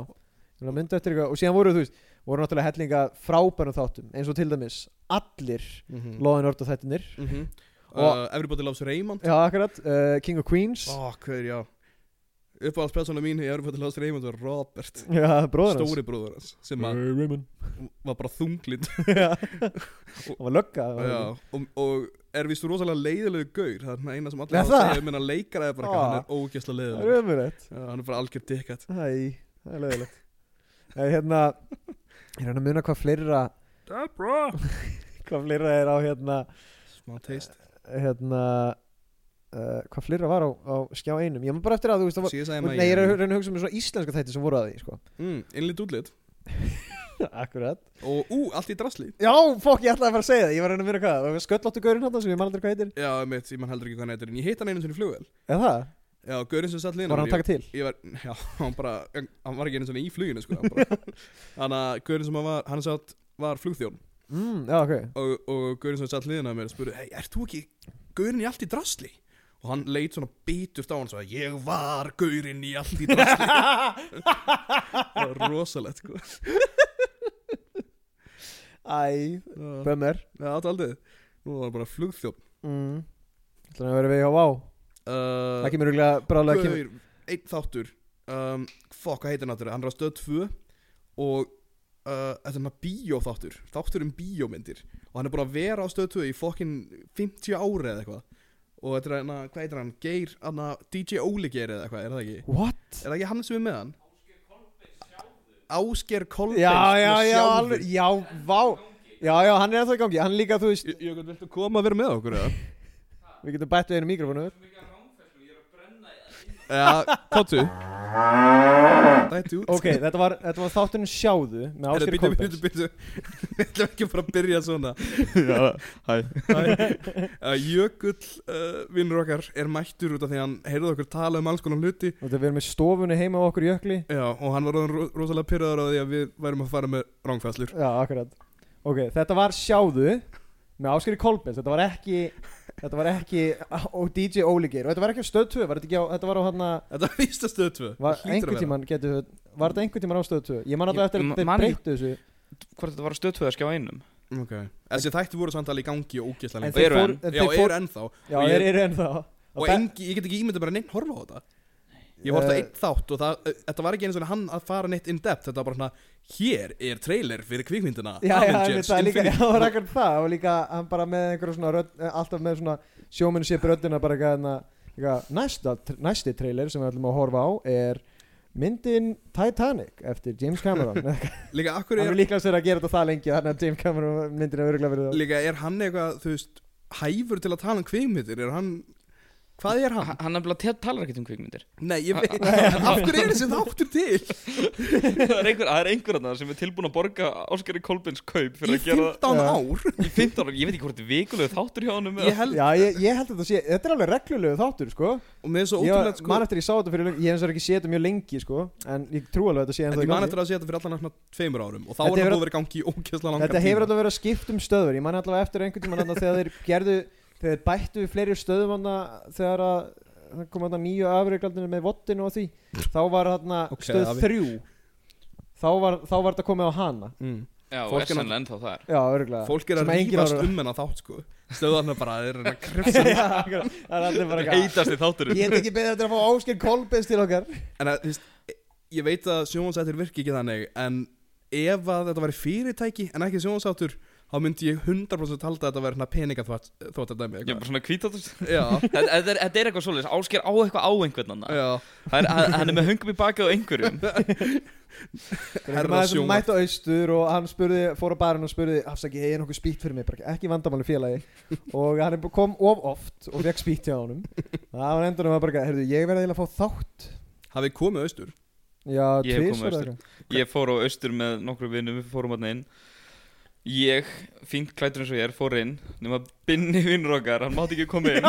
Speaker 2: Þannig að myndu eftir eitthvað, og síðan voru þú veist voru náttúrulega hellinga frábærum þáttum eins og til dæmis allir
Speaker 3: mm -hmm.
Speaker 2: loðin orð og þættinir
Speaker 3: uh, Everybody loves Raymond
Speaker 2: Já, akkurat, uh, King of Queens
Speaker 3: Ó, hver, já Uppáhaldspersóna mín í Everybody loves Raymond var Robert
Speaker 2: Já, bróður hans
Speaker 3: Stóri bróður hans Sem að
Speaker 2: Raymond
Speaker 3: var bara þunglind
Speaker 2: Það var lögga það var
Speaker 3: Já,
Speaker 2: ekki.
Speaker 3: og, og er vist rosalega leiðilegu gaur Það er svona eina sem allir
Speaker 2: Er
Speaker 3: hafa að
Speaker 2: það?
Speaker 3: segja um hennar leikara er bara
Speaker 2: Ah.
Speaker 3: eitthvað, Hann er ógæsla
Speaker 2: Það er
Speaker 3: leiðilegur
Speaker 2: umrætt
Speaker 3: Já, Hann er bara algjör dikkat
Speaker 2: Æ, það er leiðilegt Það er hérna Ég er hann að muna hvað fleira
Speaker 3: Debra
Speaker 2: Hvað fleira er á hérna
Speaker 3: Smá teist
Speaker 2: Hérna uh, Hvað fleira var á, á skjá einum Ég maður bara eftir að þú veist það var,
Speaker 3: Síðan
Speaker 2: Nei, ég er að reyna að hugsa um svona íslenska þætti sem voru að því sko.
Speaker 3: mm, Innlít útlit
Speaker 2: Akkurat
Speaker 3: Og ú, allt í drasli
Speaker 2: Já, fokk, ég ætlaði að fara að segja það Ég var að reyna að muna hvað Það var sköllóttu gaurinn hann sem ég man aldrei hvað heitir
Speaker 3: Já, mitt, ég man heldur ekki hvað hann heitir En ég hitt hann einu sinni í flugvél
Speaker 2: Eða það?
Speaker 3: Já, gaurinn sem satt liðan
Speaker 2: Var hann að taka til?
Speaker 3: Ég var, já, hann bara Hann var ekki einu sinni í fluginu, sko hann bara- Þannig að gaurinn sem hann var Hann satt, var flugþjón
Speaker 2: Mm, já, ok
Speaker 3: Og, og gaurinn sem satt liðan að mér spurði Hei, ert þú ekki gaurinn í allt í drasli? Og hann leit svona bítust á hann Svo að ég var gaurinn í allt í drasli Það var rosalegt, sko
Speaker 2: Æ,
Speaker 3: Já,
Speaker 2: bömmir
Speaker 3: það átti aldrei Nú var hann bara flugþjón
Speaker 2: mm. Þannig að vera við hjá Vá
Speaker 3: uh,
Speaker 2: Það kemur rúglega bráðlega kemur
Speaker 3: Gaur, einn þáttur um, Fuck, hvað heitir hann náttúrulega? Hann er á stöð 2 Og uh, þetta er hann bíóþáttur Þáttur um bíómyndir Og hann er búin að vera á stöð 2 í fokkin 50 ári eða eitthvað Og þetta er hann, hvað heitir hann? Geir, hann DJ Óli Geir eða eitthvað, er það ekki?
Speaker 2: What?
Speaker 3: Er það ekki hann sem er með hann? Ásker Kolbeins
Speaker 2: Já, já,
Speaker 3: með
Speaker 2: já,
Speaker 3: sjálfur.
Speaker 2: alveg Já, Vá Já, já, hann er ennþá í gangi Hann líka, þú veist
Speaker 3: J- Jökull, viltu koma að vera með okkur eða?
Speaker 2: Við getum bætt við einu mikrofonu
Speaker 3: Já, kottu Dættu út
Speaker 2: Ok, þetta var, þetta var þáttunum sjáðu Með
Speaker 3: Herra,
Speaker 2: Ásker
Speaker 3: bíddu, bíddu,
Speaker 2: Kolbens
Speaker 3: bíddu. Við ætlum ekki bara að byrja svona Já, hæ uh, Jökull, uh, vinnur okkar, er mættur út af því að hann heyrði okkur tala um alls konar hluti
Speaker 2: Og þetta við erum með stofunni heima á okkur jökli
Speaker 3: Já, og hann var orðinn ro rosalega pyrraður á því að við værum að fara með rángfæslur
Speaker 2: Já, akkurat Ok, þetta var sjáðu Með Ásker Kolbens Þetta var ekki Þetta var ekki og DJ Óligir og þetta var ekki á stöð 2 var þetta, ekki á, þetta var á hann
Speaker 3: Þetta var víst að stöð 2
Speaker 2: var einhvern tíman getur við var þetta einhvern tíman á stöð 2 ég man alltaf
Speaker 4: Ég
Speaker 2: eftir að
Speaker 4: man-
Speaker 2: þeir
Speaker 4: man ekki-
Speaker 2: breyttu þessu
Speaker 4: Hvort þetta var stöðtöðar skjá einum
Speaker 3: okay. Þessi þætti voru samt alveg í gangi og ógeðslega
Speaker 2: En
Speaker 4: þeir
Speaker 3: lengi
Speaker 4: eru
Speaker 2: fór-
Speaker 4: enn.
Speaker 2: en
Speaker 3: Já,
Speaker 2: þeir
Speaker 3: fór...
Speaker 2: fór-
Speaker 3: eru ennþá
Speaker 2: já,
Speaker 3: og ég-
Speaker 2: þeir eru ennþá
Speaker 3: Og engi, ég get ekki ímyndað bara neitt horfa á þetta Ég horfði
Speaker 2: Eh.
Speaker 3: að einn þátt og það, þetta var ekki einu svona hann að fara neitt in depth Þetta var bara svona, hér er trailer fyrir kvikmyndina
Speaker 2: Já, já,
Speaker 3: Avengers,
Speaker 2: einmitt, það er líka, já,
Speaker 3: Infinity
Speaker 2: það var ekkert það og líka eh, hann bara með einhverja svona rödd, eh, alltaf með svona sjómennship röddina bara eitthvað hérna, eitthvað, næsta, næsti trailer sem við ætlum að horfa á er myndin Titanic eftir James Cameron hann
Speaker 3: Líka, akkur
Speaker 2: er
Speaker 3: er,
Speaker 2: líklega sér að gera þetta það lengi þannig að James Cameron myndin er öruglega verið
Speaker 3: líka er hann eitthvað, þú veist, hæfur til að tala um kvikmyndir Er hann, hvað er hann?
Speaker 4: Hann hann nefnilega te- talar ekkert um kvikmyndir
Speaker 3: Nei, ég veit, en af hverju er þessi þáttur til?
Speaker 4: Það er einhver, það er einhver þarna sem er tilbúin að borga Áskari Kolbins kaup fyrir
Speaker 3: Í
Speaker 4: að gera
Speaker 2: Já.
Speaker 3: 15 ár?
Speaker 4: í 15 ára, ég veit ekki hvort þetta er vikulegu þáttur hjá honum eða-
Speaker 3: Ég held,
Speaker 2: Já, ég, ég held að þetta sé, þetta er alveg reglulegu þáttur, sko
Speaker 3: og með þessu ótrúlega
Speaker 2: Ég
Speaker 3: sko
Speaker 2: man eftir ég sá þetta fyrir, lengi- ég hef eins og ekki séð þetta mjög lengi, sko En ég trú alveg að þetta sé
Speaker 3: En
Speaker 2: ennþá
Speaker 3: ég
Speaker 2: í
Speaker 3: man
Speaker 2: gangi.
Speaker 3: eftir að sé þetta fyrir allan svona tveimur árum Og þá
Speaker 2: Þetta
Speaker 3: er það
Speaker 2: hefur-
Speaker 3: búið að vera í gangi í ógeðslega langan
Speaker 2: Þetta hefur alltaf verið að skipta um stöður Ég man allavega eftir einhvern tímann þarna þegar þeir gerðu Þegar þeir bættu við fleiri stöðum hana, Þegar að það kom þarna nýju afreikaldinu með vottinu og því Þá var þarna
Speaker 3: Ok,
Speaker 2: stöð
Speaker 3: afi.
Speaker 2: þrjú þá var, þá var þetta komið á hana
Speaker 3: mm.
Speaker 4: Já, og
Speaker 3: Fólk
Speaker 4: er
Speaker 3: er
Speaker 4: sannlega ennþá þar
Speaker 2: Já, örgulega
Speaker 3: Fólk er að rífast um hennar þátt sko Stöðarna bara er að krefsa
Speaker 2: Það er allir bara eitthvað
Speaker 4: Heitasti þátturinn
Speaker 2: Ég get ekki beðið eftir að fá Ásker Kolbens til okkar
Speaker 3: En að, þú veist, ég veit að sjónvansættir virki ekki þannig En ef að þetta væri fyrirtæki en ekki sjónvansáttur Þá myndi ég 100% halda að þetta væri peninga þótt að dæmi
Speaker 4: Já, bara svona kvítatast
Speaker 3: Já,
Speaker 4: Þetta þetta er, þetta er eitthvað svoleiðis, Ásker á eitthvað á einhvern annan
Speaker 3: já
Speaker 4: Það er- Hann hann er með hungum í bakið á einhverjum
Speaker 3: Herra
Speaker 2: Maður sem
Speaker 3: sjónvarp.
Speaker 2: mætti á austur og hann spurði, fór á barinn og spurði Afsaki, ég er nokkuð spýtt fyrir mig, bara ekki vandamáli félagi Og hann er- kom of oft og fekk spýtt hjá honum Það var endur um að bara, heyrðu, ég verði eiginlega að fá þátt
Speaker 3: Hafið komið austur
Speaker 2: Já,
Speaker 4: Ég hef komið
Speaker 2: tvisvar eða
Speaker 4: austur.
Speaker 2: eitthvað.
Speaker 4: Ég fór á austur með nokkru vinnum, við fórum hann inn Ég, fínt klætur eins og ég er, fór inn Nefn að binni vinnur okkar, hann mátti ekki koma inn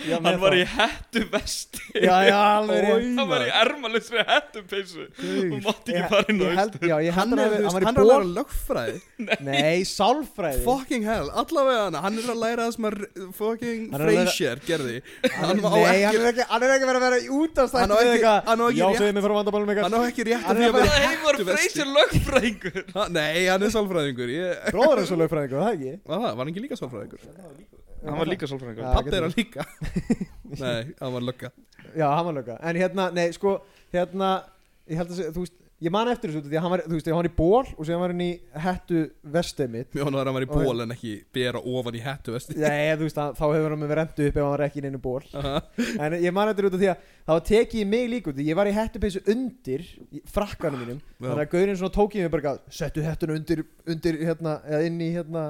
Speaker 2: Já, með
Speaker 4: Hann var
Speaker 2: það.
Speaker 4: í hættu vesti
Speaker 2: Já, já, alveg rétt.
Speaker 4: Hann var í ermalisri hættu peysu
Speaker 2: Guð.
Speaker 4: Og mátti
Speaker 2: Ég-
Speaker 4: ekki fara inn á
Speaker 2: ég
Speaker 4: austur
Speaker 2: held, já, ég held
Speaker 3: Hann
Speaker 2: að hann
Speaker 3: er,
Speaker 2: var
Speaker 3: þú veist,
Speaker 2: í
Speaker 3: hann er að
Speaker 2: ból
Speaker 3: læra lögfræði
Speaker 2: Nei, sálfræði
Speaker 3: Fucking hell, allavega hann Hann er að læra það sem að fucking
Speaker 2: Hann er að læra-
Speaker 3: Frasier gerði
Speaker 2: Hann-
Speaker 3: Hann á
Speaker 2: Nei, hann
Speaker 3: ekki
Speaker 2: er ekki hann er ekki verið að vera í útastætt
Speaker 3: Hann á ekki- hann á ekki
Speaker 2: Já,
Speaker 3: rétt-
Speaker 2: segðu mig frá vandamálum
Speaker 3: Hann
Speaker 2: ykkar
Speaker 3: á ekki rétt
Speaker 2: Hann
Speaker 3: að
Speaker 2: er
Speaker 3: því
Speaker 2: að
Speaker 4: Það
Speaker 2: fara-
Speaker 3: að vera
Speaker 4: heim var
Speaker 3: hættu vesti.
Speaker 4: freysir lögfræðingur
Speaker 3: Ha, Nei, hann er sálfræðingur ég...
Speaker 2: Bróður eins og lögfræðingur, það ekki?
Speaker 3: Var það, var hann ekki líka sálfræðingur?
Speaker 4: Hann var líka sálfræðingur
Speaker 2: Já,
Speaker 3: Pappi
Speaker 2: getur
Speaker 3: er hann líka Nei, hann var lögga
Speaker 2: Já, hann var lögga En hérna, nei, sko Hérna, ég held að segja, þú veist Ég man eftir þessu út af Því að hann var, þú veist, hann var í ból Og séðan var hann í hættu vestið mitt
Speaker 3: Mjónu var hann var í ból en ekki bera ofan í hættu vesti
Speaker 2: Nei, þú veist, hann- þá hefur hann með rendu upp Ef hann var ekki í neinu ból
Speaker 3: Aha.
Speaker 2: En ég man eftir út af því að Það var tekið í mig líka út af því Ég var í hættupeysu undir í Frakkanum mínum
Speaker 3: Já.
Speaker 2: Þannig að gaurinn svona tók í mig bara eitthvað, Settu hættuna undir, undir, hérna Eða inn í, hérna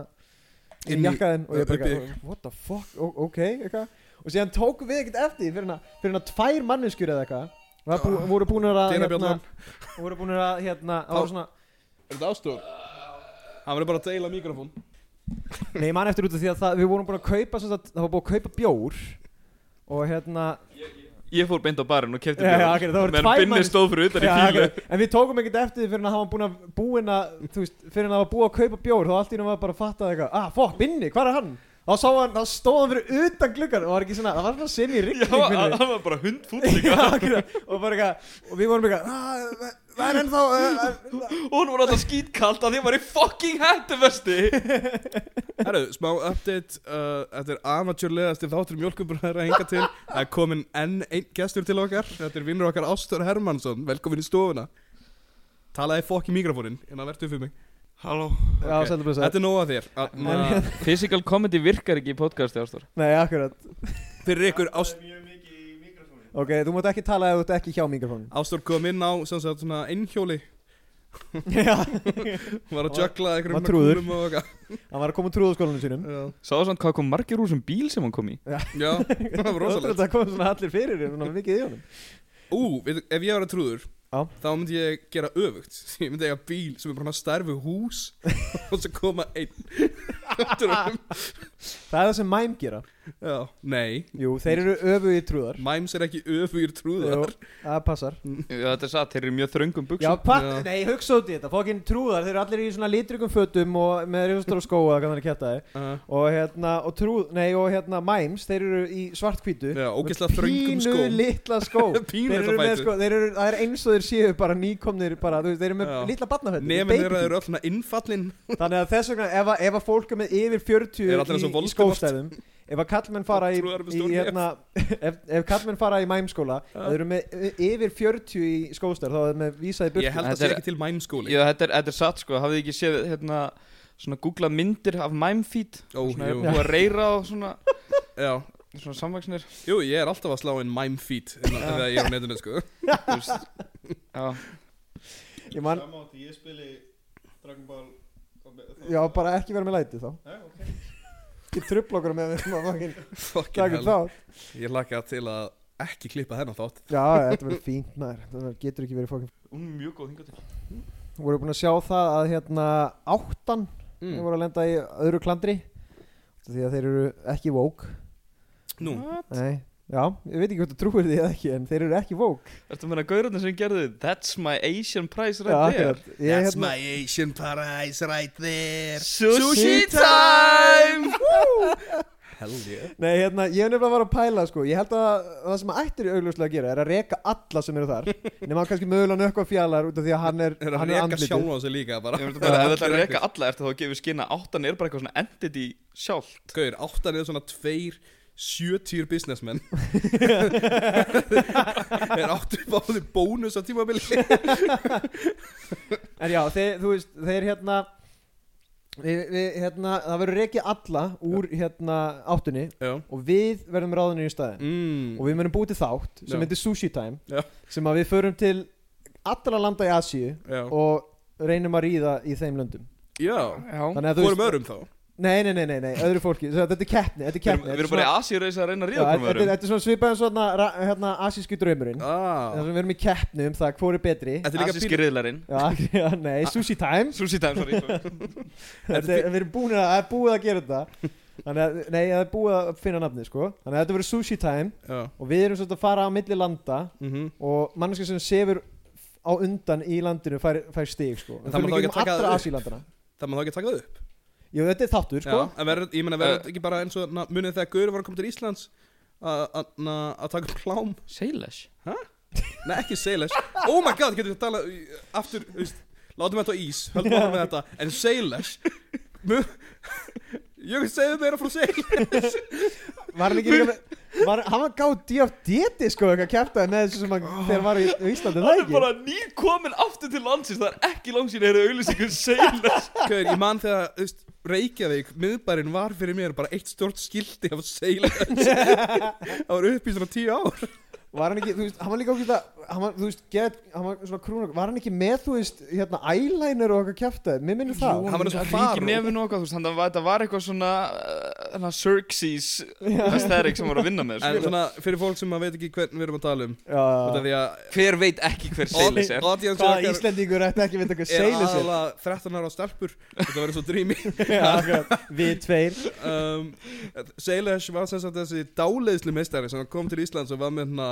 Speaker 2: Inn í
Speaker 3: Inn í-
Speaker 2: jakkaðinn Og ég bara
Speaker 3: upp í-
Speaker 2: eitthvað, What the fuck, O- ok, eitthvað Og síðan tókum við ekkert eftir því Fyrir hann að, fyrir hann að tvær manneskjur eða eitthvað Og það bú,
Speaker 3: Ah,
Speaker 2: voru búin að hérna,
Speaker 3: dyrabjallan.
Speaker 2: voru búin að hérna það
Speaker 3: Þá-
Speaker 2: voru svona,
Speaker 3: Er þetta ástof? Hann verður bara að deila mikrofón
Speaker 2: nei, ég man eftir út af því að það, við vorum búin að kaupa sem sagt, það var búin að kaupa bjór og hérna
Speaker 4: Ég fór beint á barinn og kefti
Speaker 2: Já, já, ok, það voru tvær
Speaker 4: Binni
Speaker 2: manns-
Speaker 4: stóð fyrir utan í
Speaker 2: Já,
Speaker 4: fílu
Speaker 2: ok. en við tókum ekkert eftir því fyrir að hafa búin að búin að þú veist, fyrir að hafa búin að kaupa bjór þá allt í náttúrulega var bara að fatta eitthvað ah, fokk, Binni, hvar er hann? þá sá hann, þá stóð hann fyrir utan gluggan og var ekki svona, það var svona sinni í
Speaker 4: Já,
Speaker 2: rigning
Speaker 4: hann
Speaker 2: Binni.
Speaker 4: hann var bara hundfúll
Speaker 2: Já,
Speaker 4: líka
Speaker 2: akkurat. og bara eitthvað, og við vorum eitthvað ah, það er ennþá uh, uh,
Speaker 4: Og hún var alltaf skítkalt að því hann var í fucking hættuvesti
Speaker 3: Herru, smá update uh, Þetta er amatjörlegasti þáttur mjölkubröðar að hinga til Það er komin enn einn gestur til okkar Þetta er vinnur okkar Ástor Hermansson Velkomin í stofuna Talaði fokk í mikrofónin en það verður fyrir mig
Speaker 4: Halló
Speaker 2: já,
Speaker 3: Ok.
Speaker 2: sælum við að
Speaker 3: Þetta er nóg að þér Þarna-
Speaker 4: Physical comedy virkar ekki í podcasti ástór
Speaker 2: nei, akkurat,
Speaker 3: Fyrir ykkur Ást
Speaker 2: ok, þú mátt ekki tala ef þú ert ekki hjá mikrofónin
Speaker 3: Ástór kom inn á sem sagt, svona einhjóli
Speaker 2: já,
Speaker 3: Hún var að jökla einhverjum
Speaker 2: var trúður.
Speaker 3: kúlum og eitthvað
Speaker 2: hann var að koma úr trúðaskólanum sínum
Speaker 3: Já.
Speaker 4: Sáðu samt hvað kom margir úr sem bíl sem hann kom í
Speaker 3: Já, það var rosalegt
Speaker 2: það kom svona allir fyrir þér, svona mikið í honum
Speaker 3: Ú, veit, ef ég var að trúður
Speaker 2: Já.
Speaker 3: Þá myndi ég gera öfugt Ég myndi eiga bíl sem er bara stærfi hús Og svo koma einn Trúðum.
Speaker 2: það er það sem mæm gera
Speaker 3: Já, nei
Speaker 2: Jú, þeir eru öfu í trúðar
Speaker 3: Mimes er ekki öfugir
Speaker 2: Jú,
Speaker 3: trúðar
Speaker 2: það passar
Speaker 4: Já, þetta er satt, þeir eru í mjög þröngum
Speaker 2: Já,
Speaker 4: buksum
Speaker 2: pat,
Speaker 3: Já.
Speaker 2: nei, hugsa út í þetta Fokkin trúðar, þeir eru allir í svona litrikum fötum og með rifustur og skóa, hvað þannig kjarta þið
Speaker 3: uh,
Speaker 2: og hérna, og trúð, nei, og hérna Mimes, þeir eru í svartkvítu
Speaker 3: Já, ógeðslega þröngum sko.
Speaker 2: Pínu
Speaker 3: skóm
Speaker 2: litla skó
Speaker 3: Pínu
Speaker 2: Þeir eru með
Speaker 3: bætu.
Speaker 2: sko, þeir eru, það er eins og þeir séu bara nýkomnir bara, þú veist, þeir eru með
Speaker 3: Já.
Speaker 2: litla barnafötum
Speaker 3: Nefnir þeirra eru öll svona innfallin
Speaker 2: Þannig að þess vegna, ef að, ef að fólk er með yfir 40
Speaker 3: Eru allir eins og
Speaker 2: í, í
Speaker 3: Voldemort?
Speaker 2: skófstæðum Ef að kallmenn fara í,
Speaker 3: Og trúðar með
Speaker 2: í
Speaker 3: stór nef.
Speaker 2: hérna, ef, ef kallmenn fara í mæmskóla
Speaker 3: Já.
Speaker 2: ja. Þeir eru með yfir 40 í skófstæð Þá er þeir með vísaði burt
Speaker 3: Ég held að
Speaker 4: Þetta
Speaker 3: það sé
Speaker 4: er-
Speaker 3: ekki til Mimes skóli
Speaker 4: Já, þetta er, þetta er satt sko, hafið þið ekki séð hérna svona googlað myndir af mæmfít
Speaker 3: Ó,
Speaker 4: svona
Speaker 3: jú.
Speaker 4: er búið að reyra á svona,
Speaker 3: Já,
Speaker 4: svona samvaksnir
Speaker 3: jú, ég er alltaf að slá inn Mime feet innan- Þegar ég er á netinu, sko
Speaker 4: Já,
Speaker 2: Ég man,
Speaker 5: Sama átti ég spili Dragon Ball og með- þá-
Speaker 2: já, bara ekki vera með læti þá
Speaker 5: Nei, ok.
Speaker 2: Ekki trubla okkur með þeim að maður
Speaker 3: Fucking
Speaker 2: Takk
Speaker 3: hell
Speaker 2: þá
Speaker 3: Ég laka til að ekki klippa þennan þátt
Speaker 2: Já, þetta verður fínt maður Það getur ekki verið fókin
Speaker 4: hún er mjög góð hingað til
Speaker 2: Voru búin að sjá það að hérna áttan
Speaker 3: Mm.
Speaker 2: Þeir voru að lenda í öðru klandri Því að þeir eru ekki vók
Speaker 3: Nú,
Speaker 2: Nei, já, ég veit ekki hvort þú trúir því eða ekki En þeir eru ekki vók
Speaker 4: Ertu að meina gaurarnir sem gerðu That's my Asian price
Speaker 2: Já,
Speaker 4: right there
Speaker 2: akkurat. Ég
Speaker 3: that's
Speaker 2: hérna-
Speaker 3: my Asian paradise right there
Speaker 4: Sushi time
Speaker 3: Hell yeah
Speaker 2: Nei, hérna, ég hef nefnilega var að pæla sko. Ég held að það sem að ættir í augljóslega að gera er að reka alla sem eru þar Nefnum hann kannski mögulega nökkva fjallar út af því að hann er,
Speaker 3: Er að
Speaker 2: hann er
Speaker 3: reka
Speaker 2: andlitið
Speaker 3: sjálfa sig líka bara
Speaker 4: Ég veit bara, ef þetta er að reka alla ertu þá að gefa skina áttan er bara eitthvað svona entity sjálf
Speaker 3: Gauður, áttan er svona tveir 70 businessmen er áttur báði bónus á tímabili
Speaker 2: En já, þeir, þú veist, þeir hérna við, við, hérna, það verður rekið alla úr hérna áttunni
Speaker 3: Já
Speaker 2: og við verðum ráðinni í staðin
Speaker 3: mm.
Speaker 2: og við verðum búið til þátt sem
Speaker 3: Já.
Speaker 2: heitir Sushi Time
Speaker 3: Já.
Speaker 2: sem að við förum til allra landa í Asíu
Speaker 3: Já,
Speaker 2: og reynum að ríða í þeim löndum
Speaker 3: já.
Speaker 4: Já
Speaker 2: Þannig að þú
Speaker 3: Hvorum örum þá?
Speaker 2: Nei, nei, nei, nei, nei, öðru fólki Svo Þetta er keppni, þetta er
Speaker 4: Við erum- við
Speaker 2: keppni þetta er
Speaker 4: erum bara í Asíureisa að reyna að
Speaker 2: Já,
Speaker 4: ríða okkur
Speaker 2: þetta
Speaker 4: með
Speaker 2: er-
Speaker 4: öðrum
Speaker 2: þetta er svona svipað eins og þarna ra- hérna asísku draumurinn þar
Speaker 3: Ah.
Speaker 2: sem við erum í keppni um það hvor er betri
Speaker 3: Þetta er líka
Speaker 4: Asíski riðlarinn
Speaker 2: já, já, nei, sushi time
Speaker 4: Sushi time, sorry
Speaker 2: þetta, er- við erum búin að, að búið að gera þetta þannig að, nei, það er búið að finna nafni sko. þannig að þetta verður sushi time
Speaker 3: Já
Speaker 2: og við erum svolítið að fara á milli landa
Speaker 3: mm
Speaker 2: og manneskja sem sefur á undan í landinu fær, fær stig sko.
Speaker 3: En
Speaker 2: við
Speaker 3: það má
Speaker 2: fyrir
Speaker 3: þá
Speaker 2: ekki
Speaker 3: ekki
Speaker 2: um
Speaker 3: taka
Speaker 2: allra
Speaker 3: það upp?
Speaker 2: asílandana
Speaker 3: Það maður þá ekki að taka það upp
Speaker 2: jú, þetta er þáttur sko.
Speaker 3: Já, en verður, ég meina
Speaker 4: Eh.
Speaker 3: verður þetta ekki bara eins og na, munið þegar Gauður var að koma til Íslands að- að na- að taka upp plám
Speaker 4: Seilash
Speaker 3: Nei, ekki Salish Oh my god, getur við að tala aftur þú veist, Látum þetta á ís, höldum áfram með þetta En Salish Ég segði meira frá Salish
Speaker 2: var hann ekki líka með var, hann var gáð D.O.D.D. sko eitthvað kjartaði með þessu sem hann þegar hann var í, í Íslandi
Speaker 4: Hann
Speaker 2: það
Speaker 4: er
Speaker 2: ekki
Speaker 4: bara nýkomin aftur til landsins Það er ekki langsinn að eru auðlýsingur Seilash
Speaker 3: Gauður, ég man þegar þú veist, Reykjavík, miðbærin var fyrir mér bara eitt stort skildi af Salish Það var upp í svona tíu ár
Speaker 2: Var hann ekki, þú veist, hann var líka okkur hann var, þú veist, get, hann var svona krúnur Var hann ekki með, þú veist, hérna, eyeliner og okkar kjaftaði Mér minnir það
Speaker 3: Hann var eins og
Speaker 4: Ríki
Speaker 3: faró.
Speaker 4: nefn og okkar, þú veist, þannig að þetta var eitthvað svona uh, Xerxes aesthetic sem voru að vinna með
Speaker 3: En
Speaker 4: sko.
Speaker 3: svona, fyrir fólk sem að veit ekki hvern við erum að tala um Út
Speaker 2: Já,
Speaker 3: af því að
Speaker 4: Hver veit ekki hver Seilash er
Speaker 3: Audience
Speaker 2: hvaða
Speaker 3: okkar
Speaker 2: Íslendingur ætti ekki veit eitthvað
Speaker 3: er
Speaker 2: seilis er
Speaker 3: aðalega 13 ára stelpur Þetta verður svo drými
Speaker 2: Já, akkurat, Við tveir
Speaker 3: um, Seilesh var sem sagt þessi dáleiðslu meistari sem kom til Íslands og var með hérna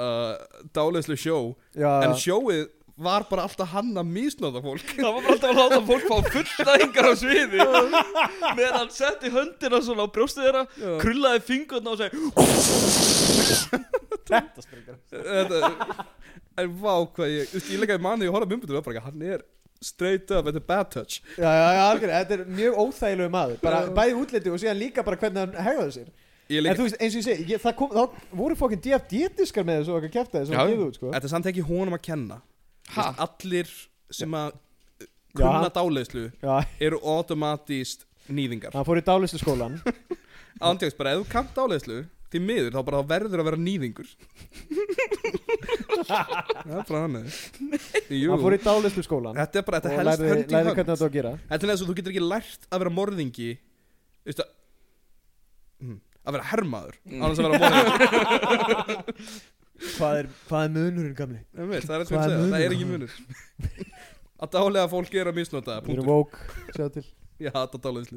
Speaker 3: uh, dáleiðslu sjó
Speaker 2: Já,
Speaker 3: en sjóið var bara alltaf hann að misnóða fólk
Speaker 4: Það var bara alltaf að láta fólk fá fullnæðingar á sviði meðan hann setti höndina svona á brjóstið þeirra krullaði fingurna og segi
Speaker 3: Þetta- en vá hvað ég þú veist, ég leikaði manni og horfði mjömbundur og var bara ekki, hann er straight up, þetta er bad touch
Speaker 2: já, já, já, algjörð, þetta er mjög óþægilegu maður Bara bæði útliti og síðan líka bara hvernig hann hegðaði sér
Speaker 3: ég
Speaker 2: En
Speaker 3: leika,
Speaker 2: þú veist, eins og ég segi, ég, það kom, þá voru fókin DFD-diskar með þessu okkar kjaftaði sem
Speaker 4: Já.
Speaker 2: hann gefið út, sko
Speaker 3: þetta er samt ekki honum að kenna Þú
Speaker 4: Ha?
Speaker 3: veist, allir sem að
Speaker 2: Já,
Speaker 3: kunna
Speaker 2: hann-
Speaker 3: dáleiðslu
Speaker 2: Já,
Speaker 3: eru automatíst nýðingar
Speaker 2: hann fór í dálistu skólan
Speaker 3: Andjóks bara, ef þú kannt áleiðslu Því miður, þá bara verður að vera nýðingur Það er bara hann Jú,
Speaker 2: Hann fór í dálistu skólan
Speaker 3: þetta er bara, þetta
Speaker 2: Og
Speaker 3: helst
Speaker 2: lærði,
Speaker 3: hönd í
Speaker 2: lærði
Speaker 3: hönd
Speaker 2: hvernig þetta á að gera
Speaker 3: Þetta er eins og þú getur ekki lært að vera morðingi Veistu að Mm, Að vera hermaður Annars að vera morðingi
Speaker 2: Hvað er, hvað er munurinn gamli?
Speaker 3: Ég veit, Það er eins og
Speaker 2: Hvað er
Speaker 3: ég segja, það
Speaker 2: munur?
Speaker 3: er ekki munur Að dálega fólk er að misnota
Speaker 2: Við erum
Speaker 3: Punktur,
Speaker 2: vók, sjá til
Speaker 3: ég hata dáleiðslu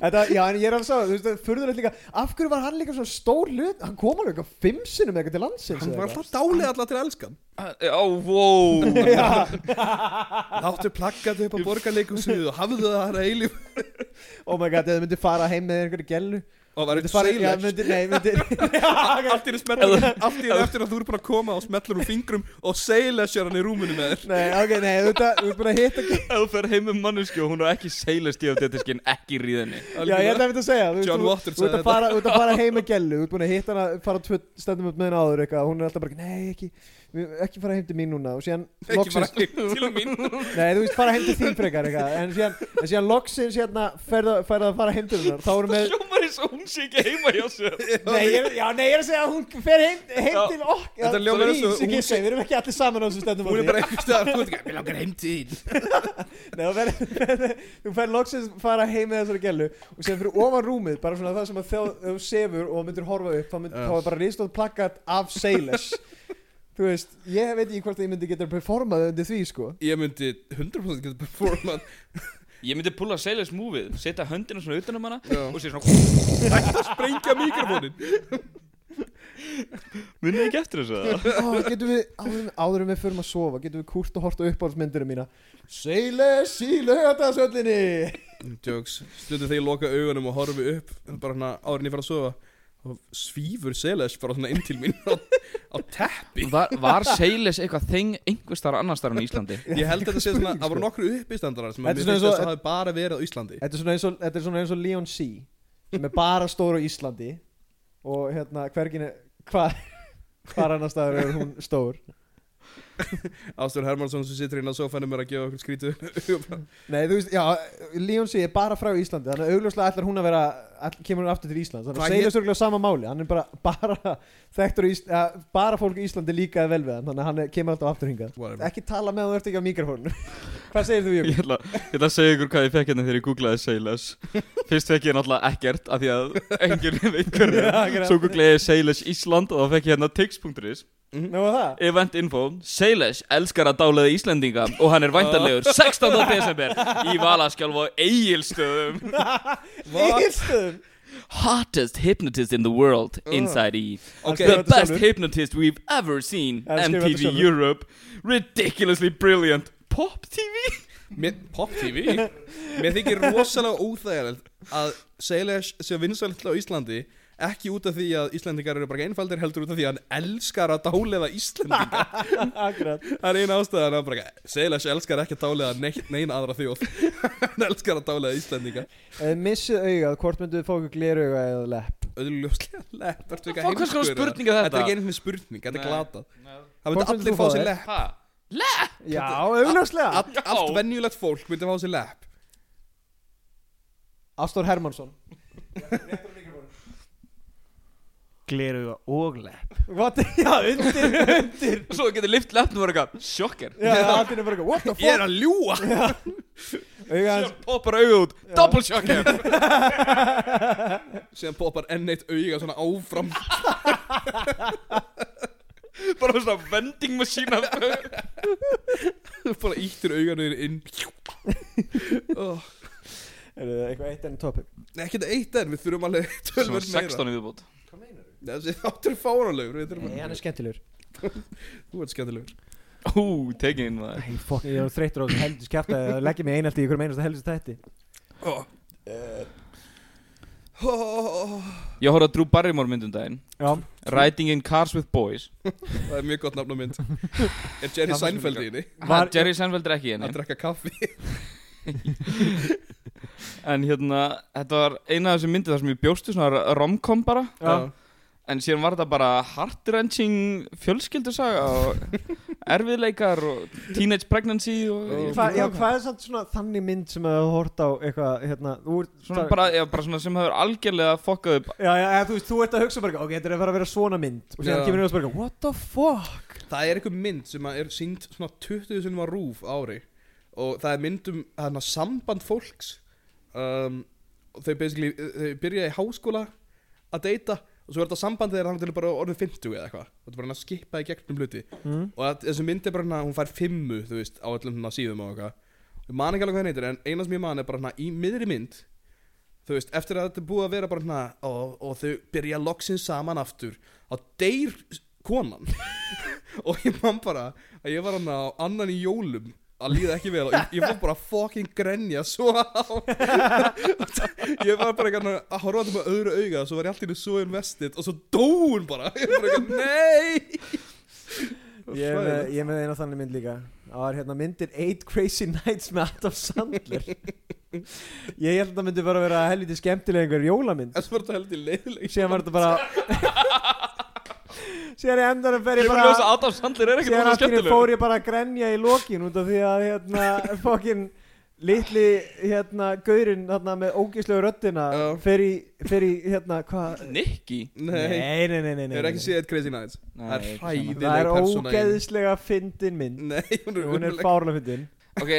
Speaker 2: Þetta, já, en ég er alveg sá, þú veist, furðulegt líka Af hverju var hann líka svo stór hlut Hann kom alveg eitthvað fimm sinnum eitthvað til landsins
Speaker 3: Hann
Speaker 2: eða
Speaker 3: var
Speaker 2: eitthvað.
Speaker 3: alltaf dálið alltaf til að elska hann
Speaker 4: Ó, wow
Speaker 3: Láttu plakkaði upp á borgarleikusinu og hafðu það hana eilíf
Speaker 2: Oh my god, eða myndi fara heim með einhverju gellu
Speaker 3: Og var
Speaker 2: Myndi
Speaker 3: eitthvað
Speaker 2: fara, já,
Speaker 3: seilest
Speaker 2: myndi, nei, myndi
Speaker 3: Allt í einu smellir Allt í einu eftir að þú eru búin að koma og smellir úr fingrum Og seilesjar hann í rúminu með þér
Speaker 2: Nei, ok, nei, þú veist að, þú veist bara að hitta
Speaker 4: Ef þú fer heim með manneski og hún er ekki seilast í aftettiskin, ekki ríðinni
Speaker 2: Já, ég ætla að mynda að segja þú veist,
Speaker 3: John
Speaker 2: þú-
Speaker 3: Waters
Speaker 2: Þú ert
Speaker 3: sagði
Speaker 2: að fara, þú ert að fara heim með gellu Þú ert búin að hitta hana, fara tvö stendum upp með henni áður eitthvað Hún er alltaf bara, nei, ekki við- Ekki fara heim til mín núna Og síðan,
Speaker 3: Ekki
Speaker 2: loksins,
Speaker 3: bara til mín
Speaker 2: Nei, þú veist, fara heim til þín frekar eitthvað En síðan, en síðan loksins hérna ferða, ferða að fara heim til hennar Þá erum við
Speaker 4: Sjómar eins og hún sé ekki heima hjá sér
Speaker 2: Nei, ég, er- já, nei, ég er að segja að hún fer heim, heim
Speaker 4: Já.
Speaker 2: til okk
Speaker 3: Þetta hljómar eins og hún
Speaker 2: hún sé Við erum ekki allir saman á þessu stendum
Speaker 3: Hún er bara einhvers staðar Þú veit ekki, við langar heim til þín
Speaker 2: Nei, þú fer- þú fer loksins fara heim með þessari gellu og sem fyrir ofan rúmið bara svona það sem að þegar þú sefur og myndir horfa upp þá, mynd,
Speaker 3: Já.
Speaker 2: þá er bara ristótt plakkat af Seiles þú veist, ég veit ekki hvort að ég myndi geta performað undir því sko
Speaker 3: Ég myndi 100% geta performað
Speaker 4: Ég myndi púla seilast múfið, setja höndina svona utan um hana
Speaker 3: Já.
Speaker 4: og sé svona
Speaker 3: Ætti að sprengja mikrofónin
Speaker 4: Munið ekki eftir þessu það?
Speaker 2: Ó, getum við, áður, en- áður en við förum að sofa getum við kúrt og hort á uppáhaldsmyndurum mína Seiles í lögatarsöllinni
Speaker 3: Jokes, stundum þegar ég loka augunum og horfi upp bara hana árin ég fara að sofa og svífur Seles bara svona inn til mín á, á teppi
Speaker 4: Var, var seilast eitthvað þeng einhvers þar annars þar en Íslandi?
Speaker 3: Ég held að þetta sé svona, það voru nokkru uppistandarar sem
Speaker 2: Þetta
Speaker 3: að
Speaker 2: er svona
Speaker 3: mér finnst
Speaker 2: eins og-
Speaker 3: þess að hafi bara verið á Íslandi
Speaker 2: þetta er svona eins og, þetta er svona eins og Leon C sem er bara stór á Íslandi og hérna hvergin er hvað hvar annar staðar er hún stór
Speaker 3: Ástur Hermansson sem situr inn á sofanum er að gefa okkur skrítu
Speaker 2: Nei, þú veist, já, Leon C er bara frá Íslandi þannig að augljóslega ætlar hún að vera all, kemur hún aftur til Íslands þannig
Speaker 3: Hvað
Speaker 2: að segja sörglega sama máli hann er bara, bara þekktur í Íslandi ja, bara fólk í Íslandi líka vel við hann þannig að hann er, kemur alltaf aftur hingað
Speaker 3: Whatever.
Speaker 2: ekki tala með hann, þú ert ekki á mikrofónu hvað segir þú, Jökul?
Speaker 4: Ég ætla, ég ætla að segja ykkur hvað ég fekk hérna þegar ég googlaði Seilas Fyrst fekk ég náttúrulega ekkert af því að enginn veit hver
Speaker 2: Já,
Speaker 4: er
Speaker 2: akkurat.
Speaker 4: Svo googlaði ég Seilas Ísland og þá fekk ég hérna tix.is
Speaker 2: Nú var það?
Speaker 4: Event info Seilas elskar að dálaði Íslendinga og hann er væntanlegur
Speaker 2: Oh.
Speaker 4: 16. desember í Valaskjálf á Egilstöðum
Speaker 2: Ístöðum?
Speaker 4: Hottest hypnotist in the world inside Eve The
Speaker 2: Ok, Oh. þetta
Speaker 4: best
Speaker 2: sjálfur.
Speaker 4: hypnotist we've ever seen
Speaker 2: Ja, skrifa þetta
Speaker 4: MTV
Speaker 2: sjálfur.
Speaker 4: Europe Ridiculously brilliant Pop TV
Speaker 3: Mér- Pop TV Mér þykir rosalega óþægilegt að Seles sé vinsælt á Íslandi ekki út af því að Íslandingar eru bara einfaldir heldur út af því að hann elskar að dáleða Íslandinga
Speaker 2: Akkurat
Speaker 3: Það er eina ástæðan að bara Seilas elskar ekki að dálega neitt neina aðra þjóð Hann elskar að dálega Íslendinga
Speaker 2: Eh, Missið augað, hvort mynduðu fá okkur glerauga eða lepp?
Speaker 3: Öðruljóslega lepp Ertu ekki
Speaker 4: Fá, hvers konar
Speaker 3: heimskur, eða?
Speaker 4: spurning er þetta?
Speaker 3: Þetta er ekki einhvern spurning, þetta er
Speaker 4: Nei.
Speaker 3: glatað Það
Speaker 2: Hvort
Speaker 3: myndi
Speaker 2: myndir þú
Speaker 3: allir
Speaker 2: fá
Speaker 3: fá sér
Speaker 2: þér?
Speaker 3: lepp
Speaker 4: Hæ?
Speaker 2: Já, augljóslega
Speaker 3: Allt- Allt venjulegt fólk myndi fá sér lepp
Speaker 2: Ástór Hermansson
Speaker 6: Gleruga og lepp
Speaker 2: What? Já, undir, undir
Speaker 4: Og svo getur lift leppnum og vera eitthvað Sjokker
Speaker 2: Já, allt er bara eitthvað, what the
Speaker 3: Ég er
Speaker 2: fuck
Speaker 3: að ljúa
Speaker 2: Auga hans
Speaker 4: Sér poppar auga út Double sjokker
Speaker 3: Síðan poppar enn eitt auga svona áfram
Speaker 4: Bara svona vending machine af auga
Speaker 3: Bara íttir auganuðin inn oh.
Speaker 2: Er það eitthvað eitt enn topic?
Speaker 3: Nei, ekki þetta eitt enn, við þurfum alveg
Speaker 4: Svona
Speaker 3: tölvöld meira
Speaker 4: 16 í viðbót
Speaker 3: Þessi þáttur er fáránlegur, við þurfum
Speaker 2: Nei, hann
Speaker 3: að
Speaker 2: er skemmtilegur
Speaker 3: Þú ert skemmtilegur
Speaker 4: Ú, tekin inn maður
Speaker 2: Nei, fokk, ég er þreyttur á þessu heldur skjæft að leggja mig einaldi í hverjum einasta heldur þætti
Speaker 3: oh. Oh.
Speaker 4: Ég horfði að Drew Barrymore myndum daginn
Speaker 2: Já,
Speaker 4: Riding in Cars with Boys
Speaker 3: Það er mjög gott nafn á mynd Er Jerry Seinfeld í henni?
Speaker 4: Var,
Speaker 2: Var-
Speaker 4: Jerry Seinfeld er ekki í henni
Speaker 3: Að drekka kaffi
Speaker 4: En hérna, þetta var eina af þessum myndið þar sem ég bjóstu svona romcom bara
Speaker 2: Já.
Speaker 4: En síðan var þetta bara heart-wrenching fjölskyldusaga og erfiðleikar og teenage pregnancy og
Speaker 2: Hva, já hvað er samt svona þannig mynd sem að þú hort á eitthvað, hérna úr,
Speaker 4: svona bara, já, bara svona sem hefur algjörlega fokkað upp
Speaker 2: Já, já, eða, þú veist, þú ert að hugsa um bara, eitthvað, ok, þetta er að fara að vera svona mynd og síðan
Speaker 3: Já.
Speaker 2: kemur ég að spyrja, what the fuck?
Speaker 3: Það er einhver mynd sem að er sínd svona 20 sinum að rúf ári og það er mynd um hana, samband fólks um, og þau, basically- þau byrja í háskóla að deyta og svo er þetta samband þegar hann til bara orðið 50 eða eitthvað og þetta er bara hann að skipa í gegnum hluti
Speaker 2: Mm.
Speaker 3: og að, þessi mynd er bara hann að hún fær fimmu þú veist á öllum hann síðum og eitthvað ég man ekki alveg hvað hann heitir en eina sem ég man er bara hann að í miðri mynd þú veist, eftir að þetta er búið að vera bara hana, og, og þau byrja loksins saman aftur á deyr konan og ég man bara að ég var hann á annan í jólum að líða ekki vel og ég, ég fór bara að fucking grenja svo á ég var bara eitthvað að horfa á þetta með öðru auga svo var ég allt í henni svo investið og svo dóun bara ég var bara eitthvað, nei
Speaker 2: Ég er með, ég er með eina þannig mynd líka Það var hérna myndir Eight Crazy Nights með Adam Sandler Ég held að það myndi bara vera helviti skemmtilega einhver jólamynd
Speaker 3: þess var þetta heldur leiðileg
Speaker 2: Síðan var þetta bara Síðan ég endar að fer
Speaker 4: Ég
Speaker 2: ég
Speaker 4: fyrir ljósa
Speaker 2: bara
Speaker 4: að Adam Sandler er ekki
Speaker 2: Síðan
Speaker 4: bara
Speaker 2: allt í einu
Speaker 4: skemmtileg
Speaker 2: fór ég bara að grenja í lokin út af því að hérna fokkin litli hérna gaurinn hérna með ógislegu röddina
Speaker 3: Já.
Speaker 2: fer í, fer í hérna hvað
Speaker 4: Nikki
Speaker 3: nei,
Speaker 2: Nei, nei, nei, nei,
Speaker 3: þau eru
Speaker 2: nei,
Speaker 3: ekki séð eitt crazy nights það er
Speaker 2: nei. Það er
Speaker 3: hræðileg persóna í henni.
Speaker 2: ógeðslega fyndin mynd
Speaker 3: nei, hún er
Speaker 2: Hún er
Speaker 3: umleg
Speaker 2: fárlega fyndin
Speaker 4: Ok,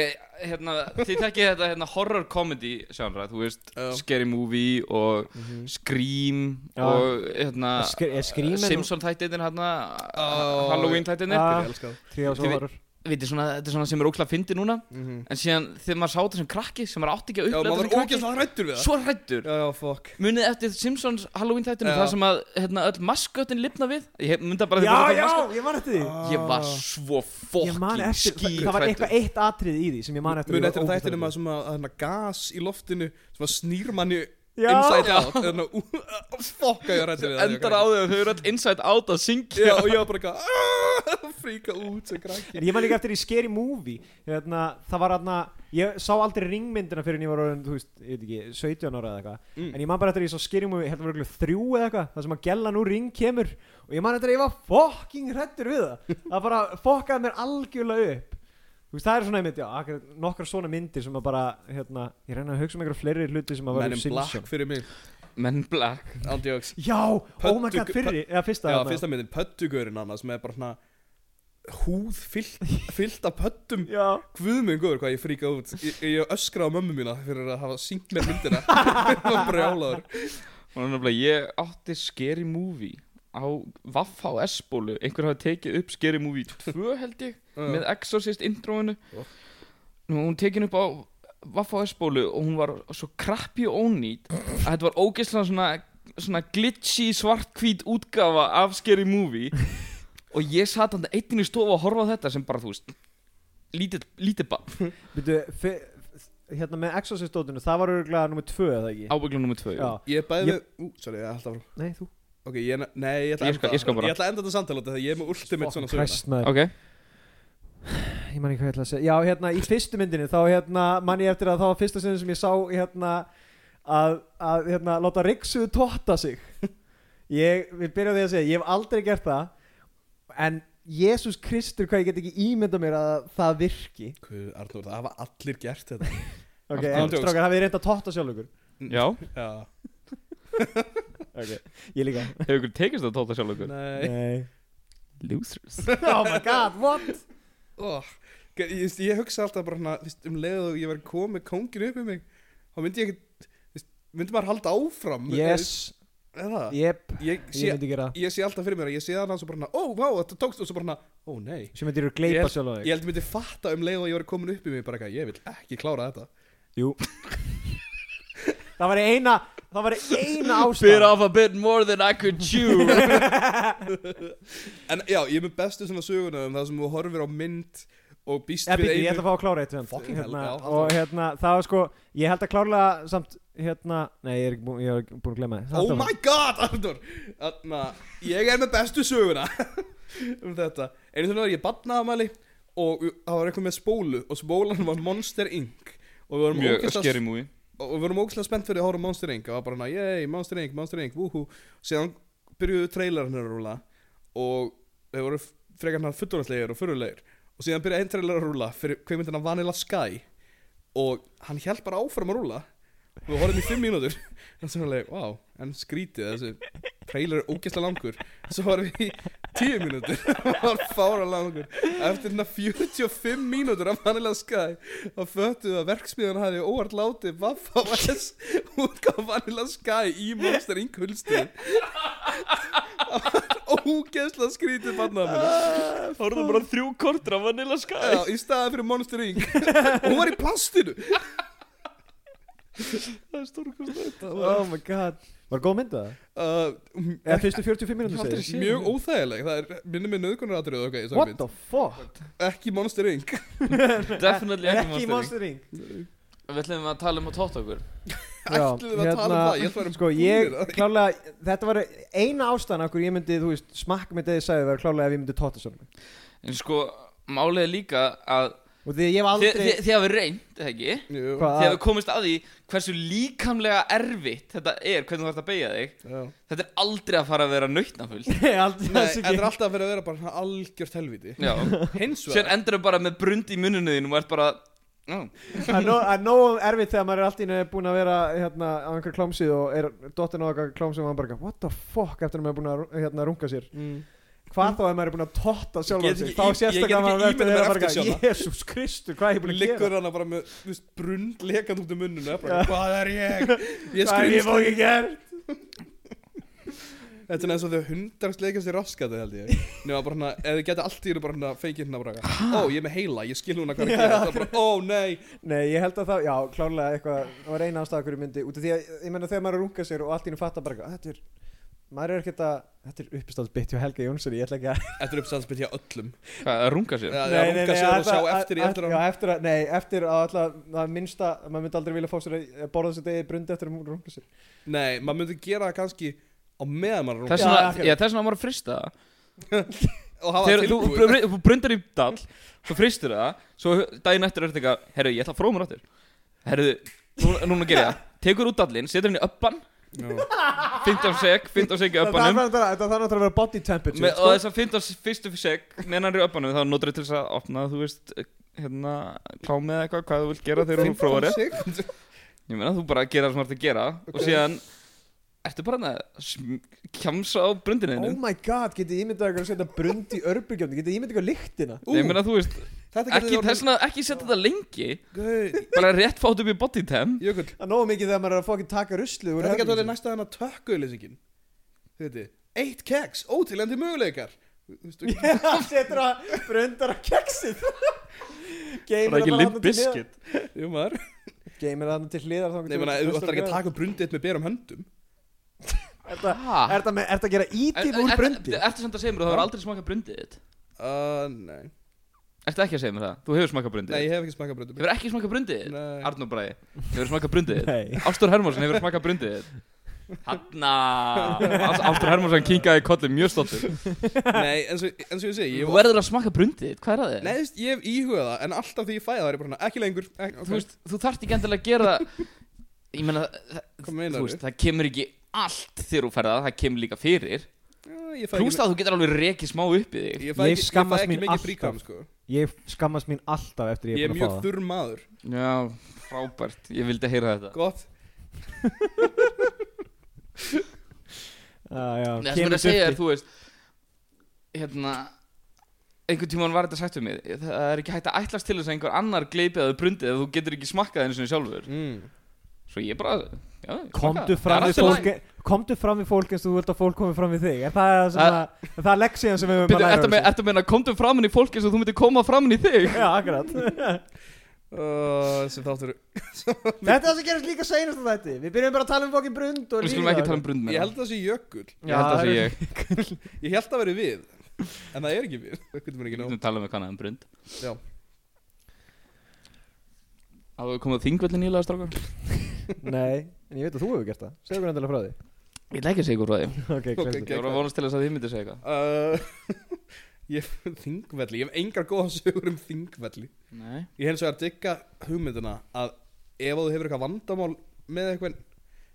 Speaker 4: hérna, þið tekkið þetta hérna, horror comedy genre, þú veist,
Speaker 3: Já. Mhm.
Speaker 4: Scary Movie og Scream
Speaker 2: Já.
Speaker 4: og hérna,
Speaker 3: Ah,
Speaker 2: Sk- er Scream
Speaker 3: eh,
Speaker 2: en-
Speaker 4: Simpson þættinir hérna,
Speaker 3: Ó,
Speaker 4: Halloween þættinir.
Speaker 2: Ah.
Speaker 3: ég elska það
Speaker 2: Tríó svo
Speaker 4: Þið vi-
Speaker 2: horror
Speaker 4: Vitið, svona, þetta er svona sem er óklæð fyndi núna,
Speaker 3: Mhm.
Speaker 4: en síðan þegar maður sá þetta sem krakki, sem maður átti ekki að
Speaker 3: Já,
Speaker 4: upplega
Speaker 3: maður
Speaker 4: þetta
Speaker 3: var
Speaker 4: sem krakki,
Speaker 3: ógeðslega hrættur við það
Speaker 4: svo hrættur.
Speaker 3: Já, já, fuck
Speaker 4: Munið eftir Simpsons Halloween þættinu,
Speaker 3: Já.
Speaker 4: það sem að hérna, öll maskötin lifna við, ég mynda bara
Speaker 2: Já,
Speaker 4: þetta
Speaker 2: já,
Speaker 4: maskot-
Speaker 2: ég man eftir því
Speaker 3: Ah,
Speaker 4: Ég var svo
Speaker 2: Ég man
Speaker 4: fokkin
Speaker 2: eftir,
Speaker 4: skýr
Speaker 2: það var eitthvað eitt atrið í því sem ég man eftir
Speaker 3: Mun
Speaker 2: ég var
Speaker 3: eftir
Speaker 2: ógeðslega hræddur.
Speaker 3: þættinum að sem að hana, gas í loftinu sem að snýr manni
Speaker 2: Já.
Speaker 3: inside out Þannig að ú, að, fuck að ég var hrættur við það
Speaker 4: Endar á því að þau eru öll inside out að syngja
Speaker 3: Já, og ég var bara eitthvað "Ah", Fríka út sem
Speaker 2: En
Speaker 3: krakki
Speaker 2: ég man líka eftir í Scary Movie hérna, Það var aðna Ég sá aldrei ringmyndina fyrir en ég var orðin, þú veist, ég veit ekki, 17 ára eða eitthvað
Speaker 3: Mm.
Speaker 2: En ég man bara eftir í svo Scary Movie, hérna var eitthvað þrjú eða eitthvað Það sem að gella nú ring kemur Og ég man eftir að ég var fokking hrættur við það Það bara fokkaði mér algjörlega upp Þú veist, það er svona einmitt, já, akkurat nokkrar svona myndir sem að bara, hérna, ég reyna að hugsa um einhverja fleiri hluti sem að vera
Speaker 3: Men
Speaker 2: um
Speaker 3: in black
Speaker 2: Simpson.
Speaker 3: fyrir mig
Speaker 4: Men Black
Speaker 3: Andjóks
Speaker 2: Já, oh my god,
Speaker 3: Pöddu-
Speaker 2: fyrri, eða fyrsta.
Speaker 3: Já,
Speaker 2: þarna.
Speaker 3: fyrsta myndin Pöttugurinn annars með bara hana húð fyllt, fyllt af pöttum
Speaker 2: Já.
Speaker 3: Guðmund góður hvað ég fríka út Ég, ég öskra á mömmu mína fyrir að hafa syngt mér myndina Ég var brjálaður
Speaker 4: Og nefnilega ég átti Scary Movie á Vaffa og S-bólu einhver hafi tekið upp Scary Movie 2 held ég með Exorcist introinu
Speaker 3: Já.
Speaker 4: Nú, hún tekin upp á Vaffa og S-bólu og hún var svo krappi og ónýt að þetta var ógeðslega svona, svona glitchy svartkvít útgafa af Scary Movie og ég satt hann einn í stofu að horfa á þetta sem bara þú veist lítið, lítið bara
Speaker 2: Býtu, fe- hérna með Exorcist-dótinu, það var örgulega nummið tvö eða ekki?
Speaker 4: ábyggla nummer 2
Speaker 2: Já,
Speaker 3: Ég bæði
Speaker 2: Ég-
Speaker 3: með, ú, sorry, ég held að
Speaker 2: nei, þú
Speaker 3: Ok, ég, nei, ég ætla
Speaker 4: Ég skal-
Speaker 3: að
Speaker 4: ég skal
Speaker 3: enda
Speaker 4: bara.
Speaker 3: Ég ætla að enda þetta samtala Þegar ég er með ultimate svona söguna.
Speaker 2: Christ maður,
Speaker 4: ok
Speaker 2: ég man ekki hvað ég ætla að segja Já, hérna, í fyrstu myndinni, þá hérna man ég eftir að það var fyrsta sinni sem ég sá hérna, að, að hérna, láta Riksu totta sig Ég, við byrjaðum því að segja, ég hef aldrei gert það en Jésús Kristur, hvað ég get ekki ímynda mér að það virki
Speaker 3: Guð, Arnur, það hafa allir gert þetta
Speaker 2: Ok,
Speaker 4: Aftur
Speaker 2: en
Speaker 3: jokes.
Speaker 2: strákar, hafið þið reynd að totta sjálf ykkur
Speaker 4: Já,
Speaker 3: Já
Speaker 2: Ok, ég líka
Speaker 4: hefur ykkur tekist að tóta sjálf ykkur
Speaker 3: Nei
Speaker 2: Nei
Speaker 4: Losers
Speaker 2: Oh my god, what?
Speaker 3: oh, ég, ég, ég hugsa alltaf bara hana, þvist, um leið og ég verið komið kóngin upp í mig Þá myndi ég ekki þvist, Myndi maður halda áfram
Speaker 2: Yes,
Speaker 3: Eða
Speaker 2: yep,
Speaker 3: Ég
Speaker 2: ég
Speaker 3: sé
Speaker 2: myndi gera það.
Speaker 3: Ég sé alltaf fyrir mér að ég sé það hans og bara hana, ó, vá, þetta tókst og svo bara hana, ó, nei.
Speaker 2: Sem myndir þú gleypa
Speaker 3: Ég-
Speaker 2: sjálf á þig
Speaker 3: Ég held ég myndi fatta um leið og ég var komin upp í mig bara eitthvað, ég vil ekki klára þetta.
Speaker 2: Jú Það var eina Það var
Speaker 4: Bit
Speaker 2: eina ástæð
Speaker 4: off a bit more than I could chew
Speaker 3: En já, ég er með bestu svona söguna um það sem þú horfir á mynd og býst
Speaker 2: Eða
Speaker 3: við
Speaker 2: býtti, ég
Speaker 3: einu-
Speaker 2: ætla að fá að klára eitt samt.
Speaker 3: Fucking hell, já, halda
Speaker 2: Og hérna, það var sko Ég held að klára samt hérna Nei, ég er ekki búin, ég er ekki búin að glemma þið
Speaker 3: Oh my god, Arnur Þarna, ég er með bestu söguna um þetta Einu þannig var ég badnaðamæli og við- það var eitthvað með spólu og spólan var Monster Inc og við vorum
Speaker 4: Mjög
Speaker 3: ógeðslega-
Speaker 4: scary movie
Speaker 3: og við vorum ógæslega spennt fyrir að horfa á Monster Inc og það var bara hana, yey, Monster Inc, Monster Inc, wúhú síðan byrjuðu trailerinn að rúla og þeir voru frekar hann fullorðslegir og fyrirlegir og síðan byrjaði einn trailer að rúla fyrir kveimindina Vanilla Sky og hann held bara áfram að rúla og við horfum í fimm mínútur og svo var leik, wow, en skrítið þessi trailer er ógæslega langur svo horfum við í tíu mínútur það var fára langur eftir hérna 45 mínútur af Vanilla Sky þá föttuðu að verksmiðan hafði óvart látið Vaffa S útgáð Vanilla Sky í Monster Inc. hulstu ógeðslega skrítið bannaðamennu
Speaker 4: Hóruðu bara þrjú kortur af Vanilla Sky
Speaker 3: í staði fyrir Monster Inc. og hún var í plastinu
Speaker 4: það er stórkostlegt
Speaker 2: Oh my god Var góð mynda það?
Speaker 3: uh,
Speaker 2: Eða fyrstu 45
Speaker 4: Ég
Speaker 2: mínútur
Speaker 4: hef aldrei
Speaker 2: segir
Speaker 4: séð
Speaker 3: Mjög óþægileg, það er minnum með nöðgunar aðrið okay, í þessari
Speaker 2: What
Speaker 3: mynd.
Speaker 2: the fuck?
Speaker 3: Ekki Monster Inc
Speaker 4: Definitely ekki Monster Inc.
Speaker 2: Inc
Speaker 4: Við ætlum að tala um að tóta okkur
Speaker 3: Ætlum við að tala um það? Ég ætla að vera
Speaker 2: Sko
Speaker 3: búnir
Speaker 2: ég,
Speaker 3: að-
Speaker 2: klálega, þetta var eina ástæðan af hverju ég myndi, þú veist, smakk með deði sæði var klálega ef ég myndi tóta svona
Speaker 4: En sko, málið er líka að
Speaker 2: Og því ég hef
Speaker 4: Þið
Speaker 2: aldrei
Speaker 4: þið- þið hafið reynd, eða ekki?
Speaker 3: Jú,
Speaker 4: Þið
Speaker 2: Hvað?
Speaker 4: hafið komist að því hversu líkamlega erfitt þetta er, hvernig þú þarfst að beigja þig
Speaker 3: já.
Speaker 4: Þetta er aldrei að fara að vera nautnafull
Speaker 2: Ég hef aldrei
Speaker 3: Nei,
Speaker 2: þessu
Speaker 3: þetta er
Speaker 2: ekki
Speaker 3: alltaf að vera að vera bara svona algjört helviti
Speaker 4: Já,
Speaker 3: Hins
Speaker 4: sér
Speaker 3: vegar
Speaker 4: endur þau bara með brund í muninu þínum og ert bara "Já,
Speaker 2: Það er nóg- það er nóg erfitt þegar maður er alltaf innu búin að vera hérna á einhver klámsið og er dottin á einhver klámsið og maður bara eitthvað, what the fuck eftir að maður er búin að hérna runga sér
Speaker 3: mm.
Speaker 2: Hvað þá ef maður er búin að totta sjálfan
Speaker 3: Ég get
Speaker 2: sig
Speaker 3: ekki
Speaker 2: Þá
Speaker 3: í- ég get
Speaker 2: sérstaklega
Speaker 3: ekki
Speaker 2: maður verður að
Speaker 3: ímyndað mér
Speaker 2: vera bara
Speaker 3: eftir sjálfan.
Speaker 2: eitthvað, Jésús Kristur, hvað er ég búin að gera?
Speaker 3: Liggur hana bara með þú veist, brund lekand út um munnuna bara, Hvað er ég? Ég
Speaker 2: Hvað er ég
Speaker 3: skrýmst
Speaker 2: fókið gert?
Speaker 3: Þetta er eins og þegar hundar sleikast í raskati held ég Nefna bara hana, eða þið geta allt í hérna bara hana feikið hérna bara Ó, ég er með heila, ég skil hún að hvað er að gera Það er bara, ó nei
Speaker 2: Nei, ég held að það, já, klárlega eitthvað það var eina ástæða hverju myndi, út af því að ég menna þegar maður er að runga sér og allt í hennu fattar bara eitthvað, þetta er, maður er ekkert að þetta er uppistáðsbytt hjá Helga Jónsson, ég ætla ekki að
Speaker 3: Þetta er uppstæðsbyrð hjá öllum
Speaker 4: Hvað, að runga sér?
Speaker 3: Já, já, runga sér og
Speaker 2: ætla-
Speaker 3: sjá eftir í
Speaker 2: að-
Speaker 3: eftir
Speaker 2: Já,
Speaker 3: hann
Speaker 2: eftir að, nei, eftir að alltaf, það minnsta maður myndi aldrei vilja fá sér að borða sér degi brundi eftir að hún runga sér
Speaker 3: Nei, maður myndi gera það kannski á meðan maður er að runga.
Speaker 4: Þess vegna,
Speaker 2: Já, akkurat.
Speaker 4: já, þess vegna á maður að frista það
Speaker 3: Og hafa
Speaker 4: Þegar
Speaker 3: það
Speaker 4: þú
Speaker 3: tilbúið
Speaker 4: br- br- brundar í dall Svo fristur það Svo daginn eftir er þetta eitthvað Herru, ég ætla að fróa mér áttur Herru, núna, núna ger ég það Tekur út dallin, setur henni uppan 15 sek, 15 sek í
Speaker 2: Það þarf
Speaker 4: uppanum
Speaker 2: náttúrulega það þarf náttúrulega að vera body temperature sko.
Speaker 4: Með- Og þess að 15 fyrstu sek Neðan hann er í uppanum Þá notur til þess að opna, þú veist Hérna, klámið eða eitthvað Hvað þú vilt gera þegar hún fróar þér
Speaker 3: Sekundur
Speaker 4: Ég meina, þú bara gera það sem þú ert að gera Og síðan Ertu bara að sm- kjamsa á brundininu
Speaker 2: Oh my god, getið þið ímyndað ykkur að setja brund í örbyggjöndu getið þið ímyndað ykkur lyktina
Speaker 3: Ú,
Speaker 4: Ég meina, þú veist
Speaker 3: þetta
Speaker 4: Ekki,
Speaker 3: getur
Speaker 4: þess vegna, ekki setja þetta lengi
Speaker 3: orðið
Speaker 4: bara rétt fátt upp í body temp
Speaker 3: Jökull,
Speaker 2: Það er nógu mikið þegar maður er að fá ekki taka ruslið úr
Speaker 3: þetta getur orðið
Speaker 2: herberginu.
Speaker 3: næsta þannig að tökkuðlýsingin Þetta, eitt keks, ótilandi möguleikar Þú veist,
Speaker 2: Hann setur að brundar að keksið
Speaker 6: Það er ekki limp biscuit
Speaker 3: Jú maður
Speaker 2: Geimir það til hliðar
Speaker 3: Nei, ég meina, þú ætlar ekki að taka upp brundið með berum höndum
Speaker 4: Ha?
Speaker 2: Er þetta að gera ítip úr brundi?
Speaker 4: Ertu samt að segja mér að þú hefur aldrei smakað brundið þitt
Speaker 3: Uh, nei
Speaker 4: Ertu ekki að segja mér það? Þú hefur smakað brundið
Speaker 3: Nei, ég
Speaker 4: þitt
Speaker 3: hef ekki smakað brundið
Speaker 4: Hefur ekki smakað brundið þitt?
Speaker 3: Nei.
Speaker 4: Arnur Bræði Hefur smakað brundið þitt?
Speaker 2: Nei
Speaker 4: Ástór Hermórsson hefur smakað brundið þitt Hanna Ástór Hermórsson kinkaði kollið mjög stoltur
Speaker 3: Nei, eins og, eins og ég
Speaker 4: Þú
Speaker 3: segi ég,
Speaker 4: verður að smaka brundið þitt, hvað er að þið?
Speaker 3: Nei, þú veist, ég hef íhugað það En alltaf því ég fæða það er ég bara svona, Ekki lengur ekki,
Speaker 4: Þú veist, þú þarft ekki endilega að gera Ég meina, það-
Speaker 3: Hvað
Speaker 4: þú
Speaker 3: meinar
Speaker 4: veist, það kemur ekki allt þegar þú ferða Það kemur líka fyrir
Speaker 3: Ég fæ
Speaker 4: Plúst að þú getur alveg rekið smá upp í þig
Speaker 3: Ég fæ
Speaker 2: Ég
Speaker 3: ekki, ég fæ
Speaker 2: skammast
Speaker 3: ekki
Speaker 2: mín
Speaker 3: mikið
Speaker 2: alltaf.
Speaker 3: fríkam sko.
Speaker 2: Ég skammast mín alltaf eftir
Speaker 3: Ég
Speaker 2: ég er
Speaker 3: er
Speaker 2: búin
Speaker 3: mjög
Speaker 2: að fá það
Speaker 3: þurr maður
Speaker 4: Já, frábært, ég vildi heyra þetta
Speaker 3: Gott
Speaker 2: Ah, já,
Speaker 4: Nei, það sem
Speaker 2: kemur
Speaker 4: er að segja er,
Speaker 2: duftið.
Speaker 4: þú veist Hérna Einhvern tímann var þetta sagt við mig Það er ekki hægt að ætlast til þess að einhver annar gleipið að þau brundið Ef þú getur ekki smakkað einu sinni sjálfur
Speaker 3: mm.
Speaker 4: Svo ég bara já, ég smakkaði.
Speaker 2: Komdu fram
Speaker 4: Það er allt
Speaker 2: við
Speaker 4: í lagi.
Speaker 2: fólk Komdu fram við fólk eins og þú vilt að fólk komi fram við þig Er það sem
Speaker 4: Það-
Speaker 2: að Það er leksiðan sem við höfum
Speaker 4: Bíddu, ertu
Speaker 2: að læra
Speaker 4: að meina-
Speaker 2: þessu?
Speaker 4: Ertu að meina komdu fram henni fólk eins og þú myndir koma fram henni þig
Speaker 2: Já, akkurat
Speaker 3: uh, Sem þáttur
Speaker 2: Þetta er það sem gerist líka seinast á þetta Við byrjum bara að tala um fokkin brund og
Speaker 4: Við skulum ekki tala um brund
Speaker 3: Ég
Speaker 4: meira
Speaker 3: held að það sé jökul
Speaker 4: Ég held að það sé ég
Speaker 3: Ég held að veri við En það er ekki við Hvernig mér ekki
Speaker 4: Við
Speaker 3: nóg
Speaker 4: getum talað með kannað um brund
Speaker 3: Já.
Speaker 4: Það var komið þingvöldin nýlega strákar
Speaker 2: Nei, en ég veit að þú hefur gert það Segðu hvernig endilega frá því
Speaker 4: Ég ætla ekki að segja ykkur frá því
Speaker 2: Ok, glemdu.
Speaker 3: ok.
Speaker 4: Ég voru að vonast til þess að þið myndir segja eitthvað
Speaker 3: uh, ég, Þingvelli Ég hef engar góða sögur um þingvelli
Speaker 4: Nei
Speaker 3: Ég hef eins og er að digga hugmyndina Að ef þú hefur eitthvað vandamál Með eitthvað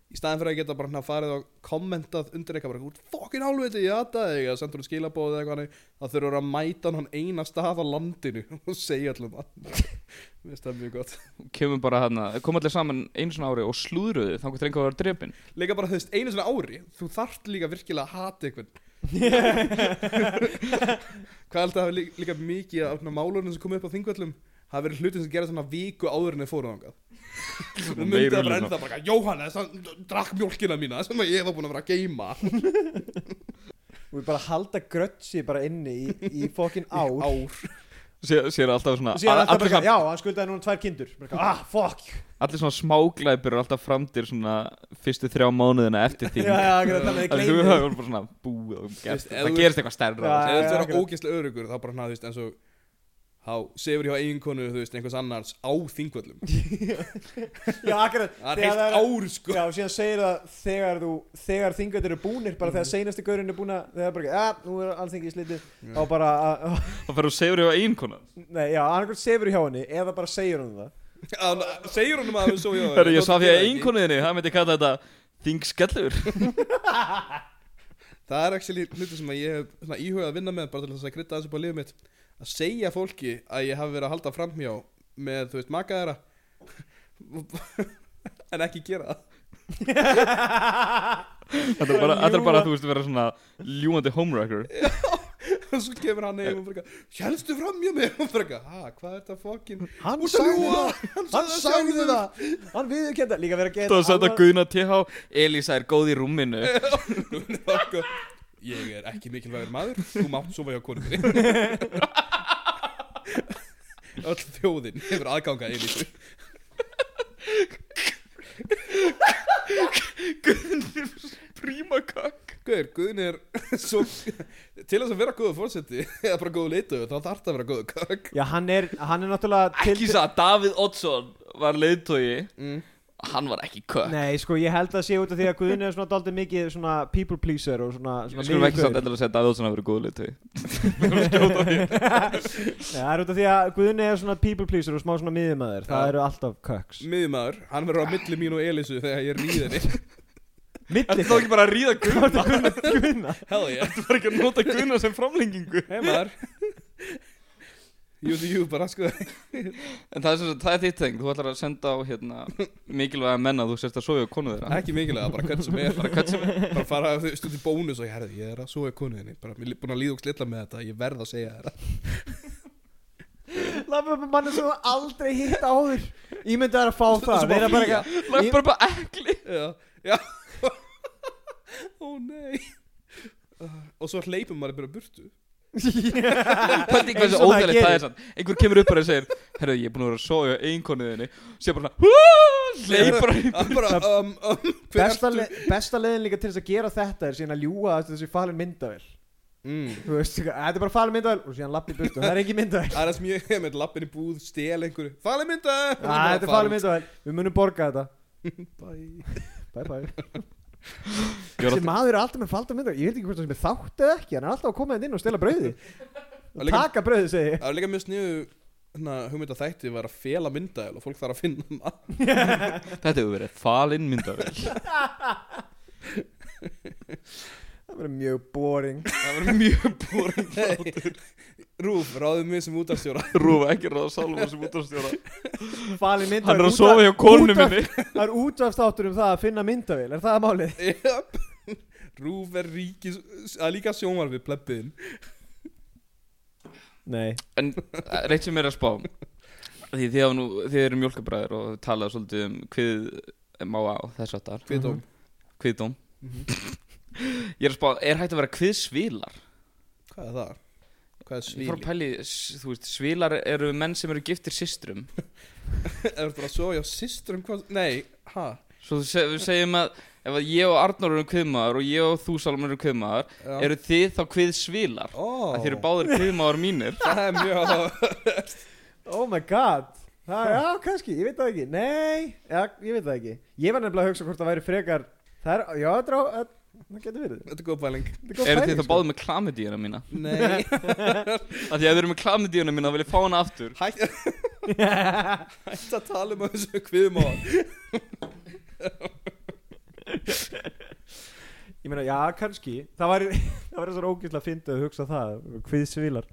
Speaker 3: Í staðin fyrir að geta bara hérna farið og kommentað undir eitthvað bara, Fokkin álviti, ég hata þig Að sendur hún skilabóð eða eitthvað þannig, Það þurfur að mæta hann eina stað á landinu Og segja allum Mér finnst það mjög gott
Speaker 4: kemur bara hérna, kom allir saman einu svona ári og slúðruðu þangar til einhver var drefin
Speaker 3: Leika bara, þú veist, einu svona ári Þú þarft líka virkilega að hata eitthvað Hvað held að hafa líka, líka mikið af svona málunum sem komið upp á þingvöllum hafa verið hlutin sem gerði svona viku áður en þeir fóru þangað Þú myndið
Speaker 4: meiri
Speaker 3: að
Speaker 4: hlutin.
Speaker 3: brenda bara Jóhannes, hann drakk mjólkina mína sem að ég var búin að vera að geima
Speaker 2: Þú er bara að halda grötsi bara inni í, í fokkin ár
Speaker 3: ár
Speaker 4: sér, sér alltaf svona
Speaker 2: Síðan
Speaker 4: allir,
Speaker 2: alltaf bara,
Speaker 4: svona
Speaker 2: já, hann skuldaði núna tvær kindur Bara eitthvað, Ah, fuck
Speaker 4: allir svona smáglæpir eru alltaf framdir svona fyrstu þrjá mánuðina eftir því
Speaker 2: Já, já, akkurat, þannig að
Speaker 4: Það
Speaker 2: ég
Speaker 4: er
Speaker 2: gleymi
Speaker 4: bara svona búið og gerst
Speaker 3: Veist, ef
Speaker 4: Það
Speaker 3: þú-
Speaker 4: gerist eitthvað stærra
Speaker 2: Já, já,
Speaker 3: Ef þú ert að vera
Speaker 2: akkurat.
Speaker 3: ógeðslega örugur þá bara hana, þú veist, eins og þá sefur hjá eiginkonu, þú veist, einhvers annars á þingvöllum
Speaker 2: Já, akkurat
Speaker 3: Það
Speaker 2: þegar
Speaker 3: er heilt
Speaker 2: það er-
Speaker 3: ár, sko
Speaker 2: Já, og síðan segir það þegar þú þegar þingat eru búnir bara þegar seinasti gaurinn er búin að þegar bara, já, nú er allþingi í slitið þá bara, að-
Speaker 4: Það fer og segur ég á einn konar
Speaker 2: nei, já, annarkvæmt sefur hjá henni eða bara segir hann það
Speaker 3: Hann Segir honum að hann svo hjá
Speaker 4: Hörru, ég sá því að einn konuðinni, það myndi kalla þetta Þingskellur
Speaker 3: Það er ekki hluti sem að ég hef svona, íhugað að vinna með bara til þess að krydda þessu upp á liðið mitt að segja fólki að ég hafi verið að halda framhjá með, þú veist, maka þeirra en ekki gera það
Speaker 4: Þetta er bara, þetta er bara þú veist, að vera svona ljúandi homewrecker
Speaker 3: og svo kemur hann eigum og bara Hélstu framhjá mér? og bara, ha, hvað er þetta fokkin
Speaker 2: Hann
Speaker 3: Út að
Speaker 2: sagði
Speaker 3: ljúga.
Speaker 2: það, hann sagði það Hann viðurkenndi það, líka verið að
Speaker 4: Þú
Speaker 2: geta
Speaker 4: veist þetta
Speaker 2: alvar-
Speaker 4: Guðna TH, Elisa er góð í rúminu
Speaker 3: Ég er ekki mikilvægur maður Þú mátt sofa hjá konum minni Öll þjóðin hefur aðgangað eilísu
Speaker 4: Prímakakk
Speaker 3: Guður, Guðin er svo, Til þess að vera góðu fórseti Eða bara góðu leitu Þá þarf það að vera góðu kakk
Speaker 2: Já, hann er, hann er náttúrulega til-
Speaker 4: Ekki það, Davíð Oddsson var leiðtogi Hann var ekki kökk
Speaker 2: Nei, sko, ég held að sé út af því að Guðin er svona daldið mikið svona people pleaser og svona, svona
Speaker 4: Skulum ekki
Speaker 2: miðjugaur.
Speaker 4: samt endilega að segja að Davíð Oddsson hafi verið góð leiðtogi
Speaker 2: Nei, það er út af því að Guðin er svona people pleaser og smá svona miðjumæður Það
Speaker 3: Já.
Speaker 2: eru alltaf köks
Speaker 3: Miðmaður, hann verður á milli mín og Elísu Þegar ég ríð henni
Speaker 2: Milli
Speaker 4: Þetta er ekki bara að ríða Guðna
Speaker 2: Guðna
Speaker 3: Hell yeah
Speaker 4: Þetta var ekki að nota Guðna sem framlengingu
Speaker 3: Hei maður Jú, þú, jú, bara sko
Speaker 4: En það er, sem sagt- það er þitt teng, þú ætlar að senda á hérna, mikilvæga menna Þú sérst að sofa á konu þeirra
Speaker 3: Ekki mikilvæg, bara hvern sem er Bara hvern sem er Bara fara þú veist, út í bónus og ég herði Ég er að sofa hjá konum henni Bara, mér er búin að líða og slilla með þetta Ég verð að segja þér það.
Speaker 2: Lafum við manni sem þú aldrei hitt áður Ímyndu er að fá það
Speaker 3: Svo
Speaker 2: Vera bara
Speaker 3: flýja.
Speaker 2: eitthvað
Speaker 4: Lagt bara bara ekli
Speaker 3: Já, já Ó nei Ah, Og svo hleypum maður bara burtu
Speaker 4: Pældi
Speaker 2: Eins
Speaker 4: hversu
Speaker 2: og það
Speaker 4: óþægilegt það
Speaker 2: gerir.
Speaker 4: er sann Einhver kemur upp bara og segir Herru, ég er búin að vera að sofa hjá einkonu þinni Sér bara svona Leipar
Speaker 3: Það bara, um, um, hver
Speaker 2: Besta,
Speaker 3: ertu?
Speaker 2: le besta leiðin líka til þess að gera þetta er síðan að ljúga þessi falin myndavel
Speaker 3: mm.
Speaker 2: Þú veist, eitthvað, þetta er bara falin myndavel og síðan lappi burtu, það er ekki myndavel
Speaker 3: Það er það sem ég hef með lappin í búð, stel einhverju eh! Fali mynda
Speaker 2: Æ, Þetta er falin myndavel, við munum borga þetta
Speaker 3: mynda
Speaker 2: Bye bye
Speaker 4: Ég var
Speaker 2: Þessi maður er alltaf með falda myndavel, ég veit ekki hvort það sem er þátt eða ekki Hann er alltaf að koma hérna inn og stela brauði
Speaker 3: Og líka-
Speaker 2: Taka brauði, segi ég
Speaker 3: Það var líka mjög sniðu Hérna, hugmynda þætti var að fela mynda og fólk þarf að finna maður
Speaker 4: Þetta hefur verið falin myndavel
Speaker 2: Það verður mjög boring
Speaker 4: Það var mjög boring
Speaker 3: Rúf, ráðum mig sem útastjóra
Speaker 4: Rúfa ekki ráða Salomon sem útastjóra
Speaker 2: Falin myndavel
Speaker 4: Hann er að
Speaker 2: út
Speaker 4: sofa hjá konu
Speaker 2: út af-
Speaker 4: minni
Speaker 2: Það er útvarstáttur um það að finna myndavél, er það málið?
Speaker 3: Jöp. Rúf er ríkis Það er líka sjónvarfið plebbiðin
Speaker 2: Nei
Speaker 4: En eh, reitt sem er að spá Því þið, hafa nú, þið eru mjólkabræður og talað svolítið um hvið má á þess aftar
Speaker 3: Kviðdóm
Speaker 4: Hviðdóm
Speaker 3: Mhm.
Speaker 4: Ég er að spá, er hægt að vera hviðsvílar?
Speaker 3: Hvað er það? Hvað
Speaker 4: Ég fór
Speaker 3: er
Speaker 4: að
Speaker 3: svíli?
Speaker 4: pæli, þú veist, svílar eru menn sem eru giftir systrum
Speaker 3: Það er bara að sofa hjá systrum hvað Nei, ha?
Speaker 4: Svo þú se- við segjum að ef að ég og Arnór erum kviðmaður og ég og þú Salomon erum kviðmaður
Speaker 3: Já.
Speaker 4: Eru þið þá hviðsvílar?
Speaker 3: Ó.
Speaker 4: Að þið eru báðir kviðmaður mínir
Speaker 3: Það er mjög
Speaker 2: Oh my god það, Já, kannski, ég veit það ekki Nei, já, ég veit það ekki Ég var nefnilega að hugsa hvort það væri frekar Það er, já, það er á, að- það getur verið
Speaker 3: Þetta er góð pæling
Speaker 2: Þetta er góð
Speaker 4: Eru
Speaker 2: pæling,
Speaker 4: þið þá báðir með klamidíuna mína?
Speaker 3: Nei
Speaker 4: Að því að þið eru með klamidíuna mína þá vil ég fá hana aftur
Speaker 3: Hætt Hætt að tala um þessu kviðum á
Speaker 2: Ég meina, já, kannski Það væri, það væri svo ógæslega fyndið að hugsa það Hvið svilar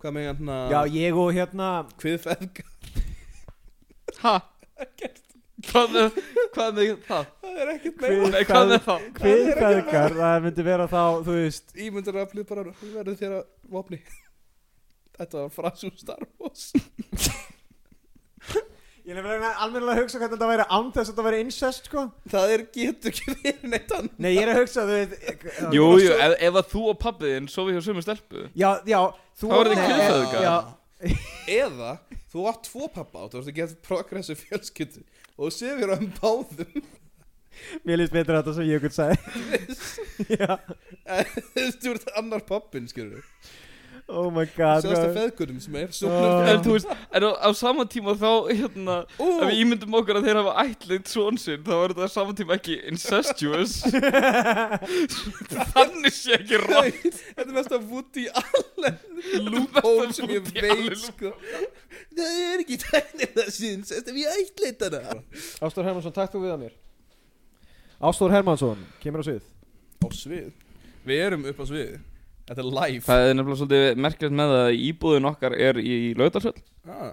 Speaker 3: Hvað með hérna
Speaker 2: Já, ég og hérna
Speaker 3: Kviðfeðg
Speaker 4: Ha? Hvað með, hvað með það?
Speaker 3: Það er ekkert meira
Speaker 4: Nei, hvað með
Speaker 2: Hviðfeðgar,
Speaker 4: það?
Speaker 2: það myndi vera þá, þú veist
Speaker 3: Ímyndaraflið bara Við verðum þér að vopni Þetta var frasum Star Wars
Speaker 2: Ég er nefnilega almennilega að hugsa hvernig þetta væri án þess að þetta væri incest sko
Speaker 3: Það er getur ekki verið neitt annað
Speaker 2: Nei, ég er að hugsa, þú veit
Speaker 4: Jú, jú, ef, ef að þú og pappiðin sofi hjá sömu stelpu
Speaker 2: Já, já, þú
Speaker 4: Þá eru þið
Speaker 2: Nei,
Speaker 4: kynfeðgar.
Speaker 2: Já,
Speaker 3: Eða þú átt tvo pappa og þú ert að geta progressu fjölskyldu og þú sefir á um báðum
Speaker 2: mér líst betur þetta sem ég okkur sagði Já,
Speaker 3: Þú ert annar pappin, skilur
Speaker 2: oh my god
Speaker 3: Sjáðast að
Speaker 2: hvað-
Speaker 3: feðgurum sem er
Speaker 2: Ah.
Speaker 4: En þú veist, en á, á sama tíma þá hérna, ef við ímyndum okkur að þeir hafa ætlit svon sinn, þá er þetta á sama tíma ekki incestuous Þannig sé ekki um rátt
Speaker 3: Þetta er mest að Woody Allen
Speaker 4: lúphól
Speaker 3: Hól sem ég veit, sko Það er ekki tænir það síns Þetta er við ætleitt hana
Speaker 2: Ástór Hermansson, takk þú við að mér Ástór Hermansson, kemur á svið
Speaker 3: Á svið Við erum upp á svið Þetta er live
Speaker 4: Það er nefnilega svolítið merkilegt með það að íbúðin okkar er í laugdarsöll
Speaker 3: ah.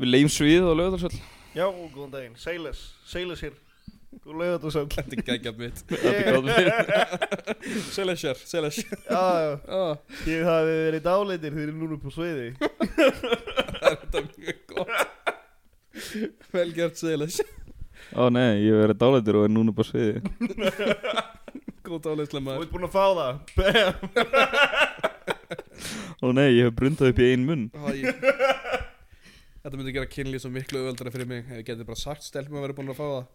Speaker 4: Við leiðum sviðið á laugdarsöll
Speaker 6: Já, góðan daginn, Seilis, Seilis hér Þú lögðu þetta svo
Speaker 3: Þetta er geggjað mitt Selesjör, selesjör
Speaker 6: Já, já, þið hafið verið dáleitir, þið eru núna upp á sviði
Speaker 3: Þetta er mjög gott Velgjart selesjör
Speaker 4: Ó nei, ég hef verið dálætur og er núna bara sviði
Speaker 3: Góð
Speaker 6: Þú
Speaker 3: áleyslega maður
Speaker 6: ert búin að fá það, bam
Speaker 4: Ó nei, ég hef brundað upp í ein munn
Speaker 3: Æ. Þetta myndi gera kynlíf svo miklu öðvöldara fyrir mig Ef ég geti bara sagt stelpum að vera búin að fá það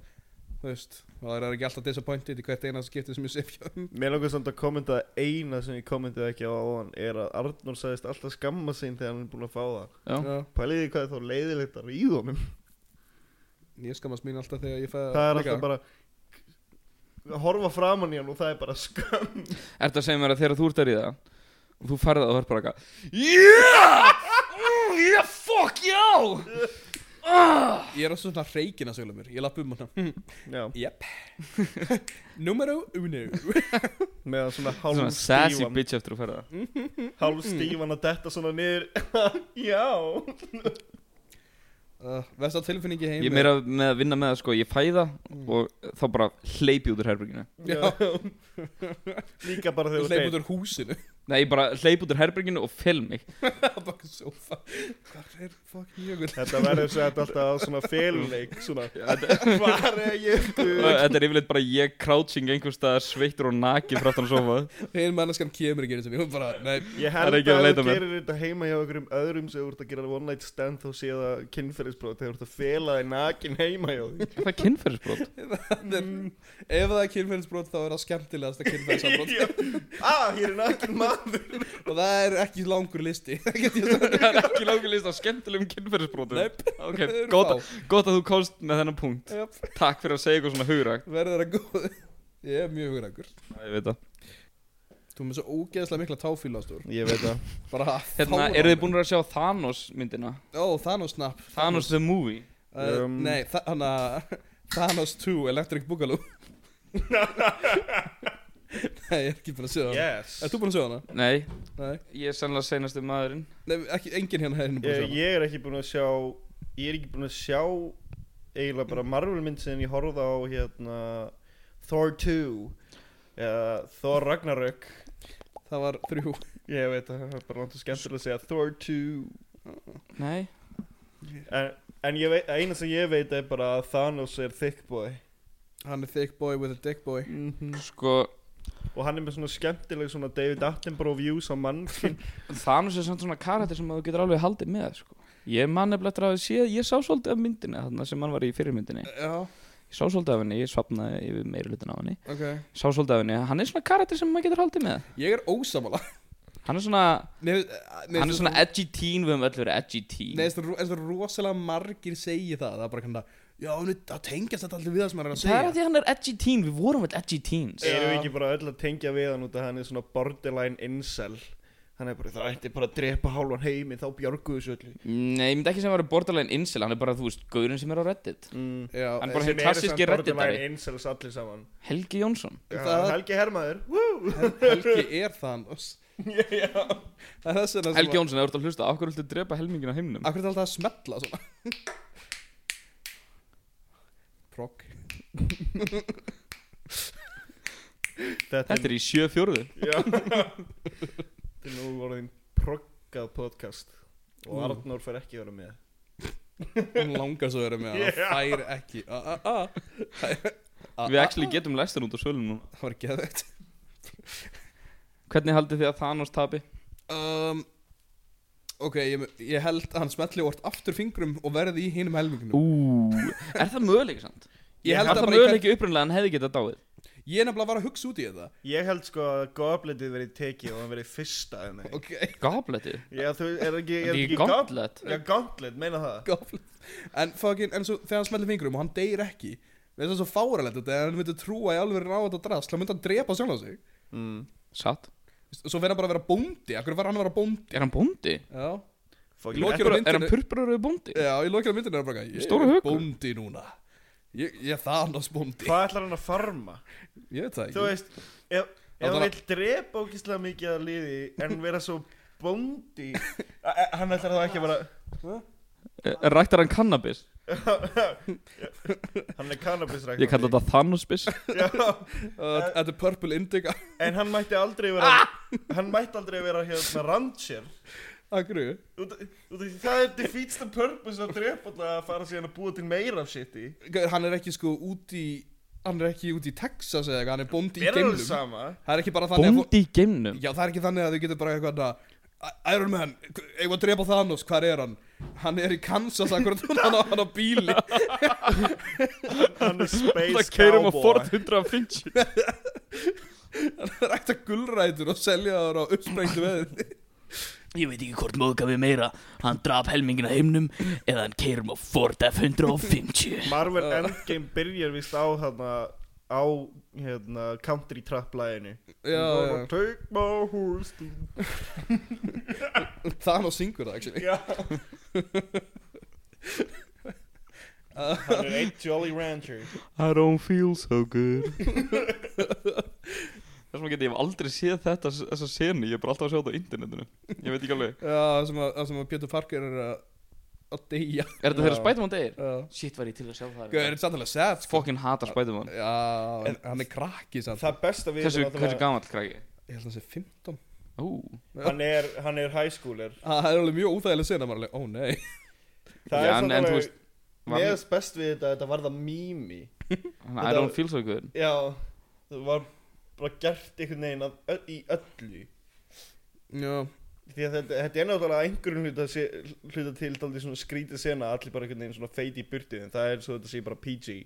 Speaker 3: Þú veist, það er ekki alltaf disappointed í hvert eina skipti sem ég sé fjá um
Speaker 6: Mér langar samt að kommenta að eina sem ég kommentaði ekki á áðan er að Arnór sagðist alltaf skamma sín þegar hann er búin að fá það
Speaker 4: Já,
Speaker 6: Pæliði hvað er þá leiðilegt að ríða honum
Speaker 3: Ég skammast mín alltaf þegar ég fæ
Speaker 6: Það er alltaf bara að horfa framan í hann og það er bara skam
Speaker 4: ertu að segja mér að þegar þú ert að ríða og þú færði það og verð bara eitthvað Yeah! Mm, yeah, fuck, já! Ah!
Speaker 3: Ég er alltaf svona reikin að sögla mér Ég lapp um hana
Speaker 6: Já,
Speaker 3: Jep Numero uno
Speaker 6: meðan svona
Speaker 4: Svona sassy
Speaker 6: hálfstífan
Speaker 4: bitch eftir að færða
Speaker 6: Hálfstífan að detta svona niður Já
Speaker 3: uh, Vesta tilfinningi heim
Speaker 4: Ég er meira með að vinna með það sko, ég fæða og þá bara hleypi út úr herbygginu
Speaker 3: Mm. Já.
Speaker 6: Líka bara þegar
Speaker 3: Leip út
Speaker 6: þeir
Speaker 3: úr húsinu
Speaker 4: Nei, ég bara hleypi út úr herbygginu og film mig
Speaker 3: Baka sofa Hvað er fucking jökul
Speaker 6: Þetta verður svo þetta alltaf svona feluleik Svona Hvar er ég
Speaker 4: Og Þetta er yfirleitt bara ég crouching einhvers staðar sveittur og nakið frá þannig sofa
Speaker 3: Hinn manneskan kemur ekki einu sem ég bara Nei
Speaker 6: Ég
Speaker 4: Það er
Speaker 6: held
Speaker 4: ekki að
Speaker 6: að
Speaker 4: leita
Speaker 6: þú
Speaker 4: mér.
Speaker 6: gerir þetta heima hjá einhverjum öðrum sem þú ert að gera one night stand þá sé það kynferðisbrót þegar þú ert að fela þig nakin heima hjá
Speaker 4: Það er kynferðisbrot
Speaker 6: því
Speaker 3: það er, Ef það er kynferðisbrot þá er það skemmtilegast að kynferðisbrot
Speaker 6: Ah, hér er nakin maður
Speaker 3: Og það er ekki langur listi Það get ég
Speaker 4: Það er ekki langur list af skemmtilegum kynferðisbrotum
Speaker 3: Nei.
Speaker 4: Ok, gott, að- gott að þú komst með þennan punkt
Speaker 3: sagt
Speaker 4: Takk fyrir að segja eitthvað svona hugrakt
Speaker 3: Verður það góð Ég er mjög hugrakur
Speaker 4: Já, Ég veit það
Speaker 3: Þú er með svo ógeðslega mikla táfílastur
Speaker 6: Ég veit það
Speaker 3: Bara
Speaker 4: Hérna,
Speaker 3: fáránlega.
Speaker 4: eru þið búin að sjá Thanos myndina?
Speaker 3: Ó, Thanos snap
Speaker 4: Thanos the movie
Speaker 3: uh,
Speaker 6: Um.
Speaker 3: Nei, þa- hann að Thanos 2 Electric Boogaloo Nei, ég er ekki búin að sjá hana
Speaker 6: Yes
Speaker 3: Er þú búin að sjá hana?
Speaker 4: Nei,
Speaker 3: Nei,
Speaker 4: ég er sannlega seinasti maðurinn
Speaker 3: Nei ekki, enginn hérna er henni búin að sjá
Speaker 6: ég,
Speaker 3: hana
Speaker 6: ég er ekki búin að sjá Ég er ekki búin að sjá eiginlega bara Marvel mynd sem ég horfði á hérna Thor 2 eða Thor Ragnarök
Speaker 3: Það var þrjú
Speaker 6: Ég veit það, það er bara langt og skemmtilega að segja Thor 2
Speaker 4: Nei
Speaker 6: En, en ég veit, eina sem ég veit er bara að Thanos er thick boy
Speaker 3: Hann er thick boy with a dick boy
Speaker 6: Eh,
Speaker 4: Sko,
Speaker 6: Og hann er með svona skemmtileg svona David Attenborough views á mannkinn
Speaker 4: Thanos er samt svona karakter sem þú getur alveg haldið með sko. Ég man nefnilega eftir að hafa séð, ég sá svolítið af myndinni þarna sem hann var í fyrirmyndinni
Speaker 3: Já,
Speaker 4: Ég sá svolítið af henni, ég svapnaði yfir meiri hlutin af henni
Speaker 3: ok
Speaker 4: Ég Sá svolítið af henni, hann er svona karakter sem maður getur haldið með
Speaker 3: Ég er ósamála
Speaker 4: Hann er svona,
Speaker 3: Nei, nei,
Speaker 4: hann er svona edgy teen, við höfum öll verið edgy teen
Speaker 3: Nei, þess að- þess að rosalega margir segi það Það er bara kannar Já, hann er- það tengjast þetta allir við það sem hann er að
Speaker 4: Það
Speaker 3: segja
Speaker 4: er að því að hann er edgy teen, við vorum öll edgy teens
Speaker 6: Erum við ekki bara öll að tengja við hann út að hann er svona borderline incel Hann er bara, það ætti bara að drepa hálfan heimi þá björguðu þessu öllu
Speaker 4: Nei, ég myndi ekki sem að vera borderline incel, hann er bara, þú veist, gaurinn sem er á Reddit
Speaker 6: mm.
Speaker 3: Já,
Speaker 4: Hann bara-
Speaker 3: eh,
Speaker 4: hinn
Speaker 6: Sem eru
Speaker 4: klassíski
Speaker 6: samt
Speaker 4: redditari.
Speaker 6: borderline incels allir saman
Speaker 4: Helgi Jónsson
Speaker 6: Já,
Speaker 3: eh, Það-
Speaker 6: Helgi Hermaður Woo!
Speaker 3: Helgi er Thanos Það er þess vegna sem
Speaker 4: Helgi
Speaker 3: að-
Speaker 4: Jónsson, það voru að hlusta, okkur viltu drepa helmingin á heimnum
Speaker 3: Akkur er alltaf að smetla svona Prog
Speaker 6: Þetta
Speaker 4: Þetta er í sjö fjóruðu
Speaker 6: Já Þetta er nú orðin proggað podcast Og
Speaker 3: Mm.
Speaker 6: Arnór fer ekki að vera með
Speaker 3: Hún langar svo að vera með hann yeah. Fær ekki Ah, a, a, a. A,
Speaker 4: Við actually getum læstur út á sölum núna
Speaker 3: Það var geðveikt
Speaker 4: Hvernig haldið þið að Thanos tapi?
Speaker 3: um, Ok, ég, ég held að hann smetli vort aftur fingrum og verði í hinum helmingnum
Speaker 4: Ú, er það möguleik samt?
Speaker 3: Ég
Speaker 4: Er
Speaker 3: held að
Speaker 4: það
Speaker 3: bara í hvern-
Speaker 4: möguleik upprunlega hann hefði getað dáið?
Speaker 3: Ég er nefnilega var að hugsa út í þetta
Speaker 6: Ég held sko að goblitið verið tekið og hann verið fyrsta en það
Speaker 3: Ok,
Speaker 4: Gobletið?
Speaker 6: Já, þú, er það ekki,
Speaker 4: Er það
Speaker 6: er
Speaker 4: ekki
Speaker 6: það ekki gob-
Speaker 4: goblet?
Speaker 6: Já, gauntlet, meina það
Speaker 3: gáfl En fucking, en svo þegar hann smetli fingrum og hann deyr ekki Veist það svo fáralegt þetta Þegar hann myndi trúa í alveg ráða þetta drast Hann myndi hann drepa sjálf á sig
Speaker 6: mm.
Speaker 4: Satt?
Speaker 3: Svo verði hann bara að vera bóndi Akkur var hann að vera bóndi
Speaker 4: Er hann bóndi?
Speaker 3: Já,
Speaker 6: Fuck,
Speaker 3: Í lokin-
Speaker 4: Er,
Speaker 6: ég,
Speaker 4: er hann
Speaker 3: Gera myndinni- Eh.
Speaker 4: purpuraröðu bóndi?
Speaker 3: Já, í lokið á myndinu er hann bara Ég
Speaker 4: Stóru
Speaker 3: er
Speaker 4: hökur.
Speaker 3: bóndi núna Ég, ég er Thanos bóndi
Speaker 6: Hvað ætlar hann að farma?
Speaker 3: Ég veit það
Speaker 6: Þú
Speaker 3: ekki
Speaker 6: veist, ef, ef
Speaker 3: Það
Speaker 6: hann
Speaker 3: var-
Speaker 6: vil drepa ógislega mikið að liði en vera svo bóndi a- a- Hann ætlar þá ekki að vera
Speaker 4: Er- Eh, Ræktar hann cannabis?
Speaker 6: Hann er kannabisrækt
Speaker 4: Ég kalla þetta Thanosbis
Speaker 3: Uh,
Speaker 6: eh,
Speaker 3: Þetta er Purple Indica
Speaker 6: En hann mætti aldrei vera
Speaker 4: Ah!
Speaker 6: Hann mætti aldrei vera hérna rancher
Speaker 3: Akkur
Speaker 6: Út- út af því Það er defeats the purpose að drepa alltaf að fara síðan að búa til meira af shit í
Speaker 3: Hann er ekki sko út í Hann er ekki út í Texas eða eitthvað Hann er bóndi í
Speaker 6: Er alveg
Speaker 3: geimlum
Speaker 6: sama
Speaker 3: Það er ekki bara þannig að fó-
Speaker 4: Bóndi í geimnum?
Speaker 3: Já, það er ekki þannig að þau getur bara eitthvað að "I- Iron Man, eigum að drepa Thanos, hvar er hann? Hann er í Kansas akkurat núna, hann á hann á bíli
Speaker 6: Hann er space
Speaker 4: Það keirum á
Speaker 6: cowboy
Speaker 4: um Ford 150
Speaker 3: Hann er ætti að gulrætur og selja þar á uppsprengtu veðið
Speaker 7: Ég veit ekki hvort móðga við meira Hann draf helmingin að heimnum Eða hann keirum á Ford F-150
Speaker 6: Marvel
Speaker 4: Ah.
Speaker 6: Endgame byrjar vist á þarna á hérna country trap læginu
Speaker 3: Já, já,
Speaker 6: Take my horse to
Speaker 3: Thanos syngur það actually
Speaker 6: Já Hann er eitt Jolly Rancher
Speaker 4: I don't feel so good Þess vegna geti ég hef aldrei séð þetta þessa senu, ég er bara alltaf að sjá þetta á internetinu Ég veit ekki alveg
Speaker 3: Já, það sem að, það sem að Pétur Parker er að að deyja
Speaker 4: Er þetta þegar Spiderman deyr?
Speaker 3: Já.
Speaker 7: Shit var ég til að sjá það
Speaker 3: Gauð, er þetta samtalið sad sko?
Speaker 4: Fucking hata Spiderman
Speaker 3: Já, en hann er krakki samt
Speaker 6: Það besta við
Speaker 4: Hversu,
Speaker 6: er náttúrulega-
Speaker 4: hversu gamall krakki?
Speaker 3: Ég held að það sé 15
Speaker 4: Ú,
Speaker 6: hann er, hann er high schooler
Speaker 3: Það er alveg mjög óþægileg sena, maður er alveg, ó nei
Speaker 6: Það
Speaker 4: Já,
Speaker 6: er
Speaker 4: en- en þú veist, var-
Speaker 6: Mér er best við þetta, þetta var það mými
Speaker 4: hann, I don't feel so good
Speaker 6: Já, það var bara gert einhvern veginn að, ö- í öllu
Speaker 3: Já,
Speaker 6: Því að þetta, þetta er náttúrulega einhverjum hluta, se, hluta til daldið svona skrítið sena Allir bara einhvern veginn svona feiti í burtið En það er svo þetta sé bara PG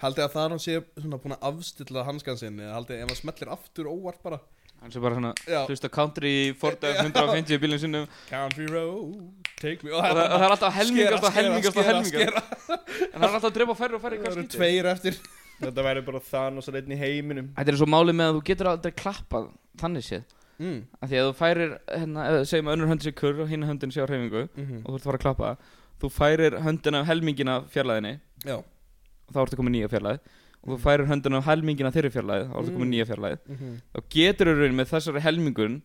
Speaker 3: haldið að Thanos sé svona búin að afstilla hanskan sinni eða Haldið ef hann smellir aftur óvart bara
Speaker 4: Hann sé bara svona,
Speaker 3: Já.
Speaker 4: þú veist að country Ford 150 í bílinn sinum og
Speaker 3: Country road, take me
Speaker 4: það, það er alltaf helmingast og helmingast og helmingast
Speaker 3: skera
Speaker 4: En hann er alltaf að drepa færri og færri
Speaker 3: Það
Speaker 4: hvað
Speaker 3: eru
Speaker 4: skýti
Speaker 3: tveir eftir
Speaker 6: Þetta væri bara Thanos að reyna í heiminum
Speaker 4: Þetta er svo málið með að þú getur aldrei klappað þannig séð
Speaker 3: mm.
Speaker 4: að því að þú færir hérna, eða segjum að önnur hönd sé kurr og hinn höndin sé á hreyfingu
Speaker 3: Mhm.
Speaker 4: og þú ert að fara að klappa þú færir höndina af helmingina fjarlæðinni
Speaker 3: Já
Speaker 4: þá ertu komin nýja fjarlæði og þú færir höndina af helmingina þeirri fjarlæði þá ertu komin nýja fjarlæði þá getur þú raunin með þessari helmingun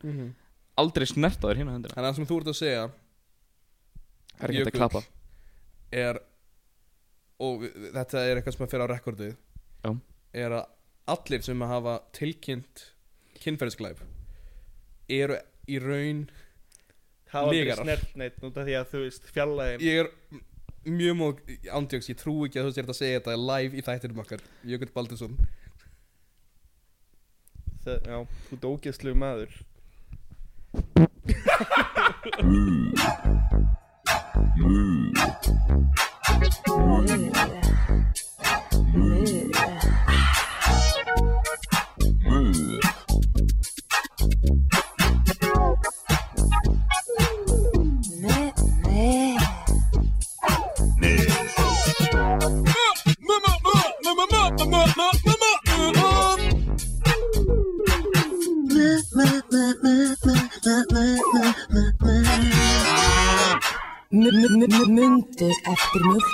Speaker 4: aldrei snert á þér hinn höndina
Speaker 3: Þannig að það sem þú ert að segja
Speaker 4: það er ekki hægt að
Speaker 3: Jökull.
Speaker 4: klappa
Speaker 3: er Og við- við- þetta er eitthvað sem er fyrir á rekordið
Speaker 4: Já.
Speaker 3: Er að allir sem hafa tilkynnt kynferðisglæp Eru í raun
Speaker 6: Það var
Speaker 3: Lygarar.
Speaker 6: aldrei snert neitt Nú þetta því að þú veist fjallæðin
Speaker 3: Ég er mjög móg ándjóks Ég trúi ekki að þú sér þetta að segja þetta live í þættinum okkar Jökull Baldursson
Speaker 6: það, Já, þú ert ógeðslegu maður
Speaker 1: Mundu eftir mjölkinni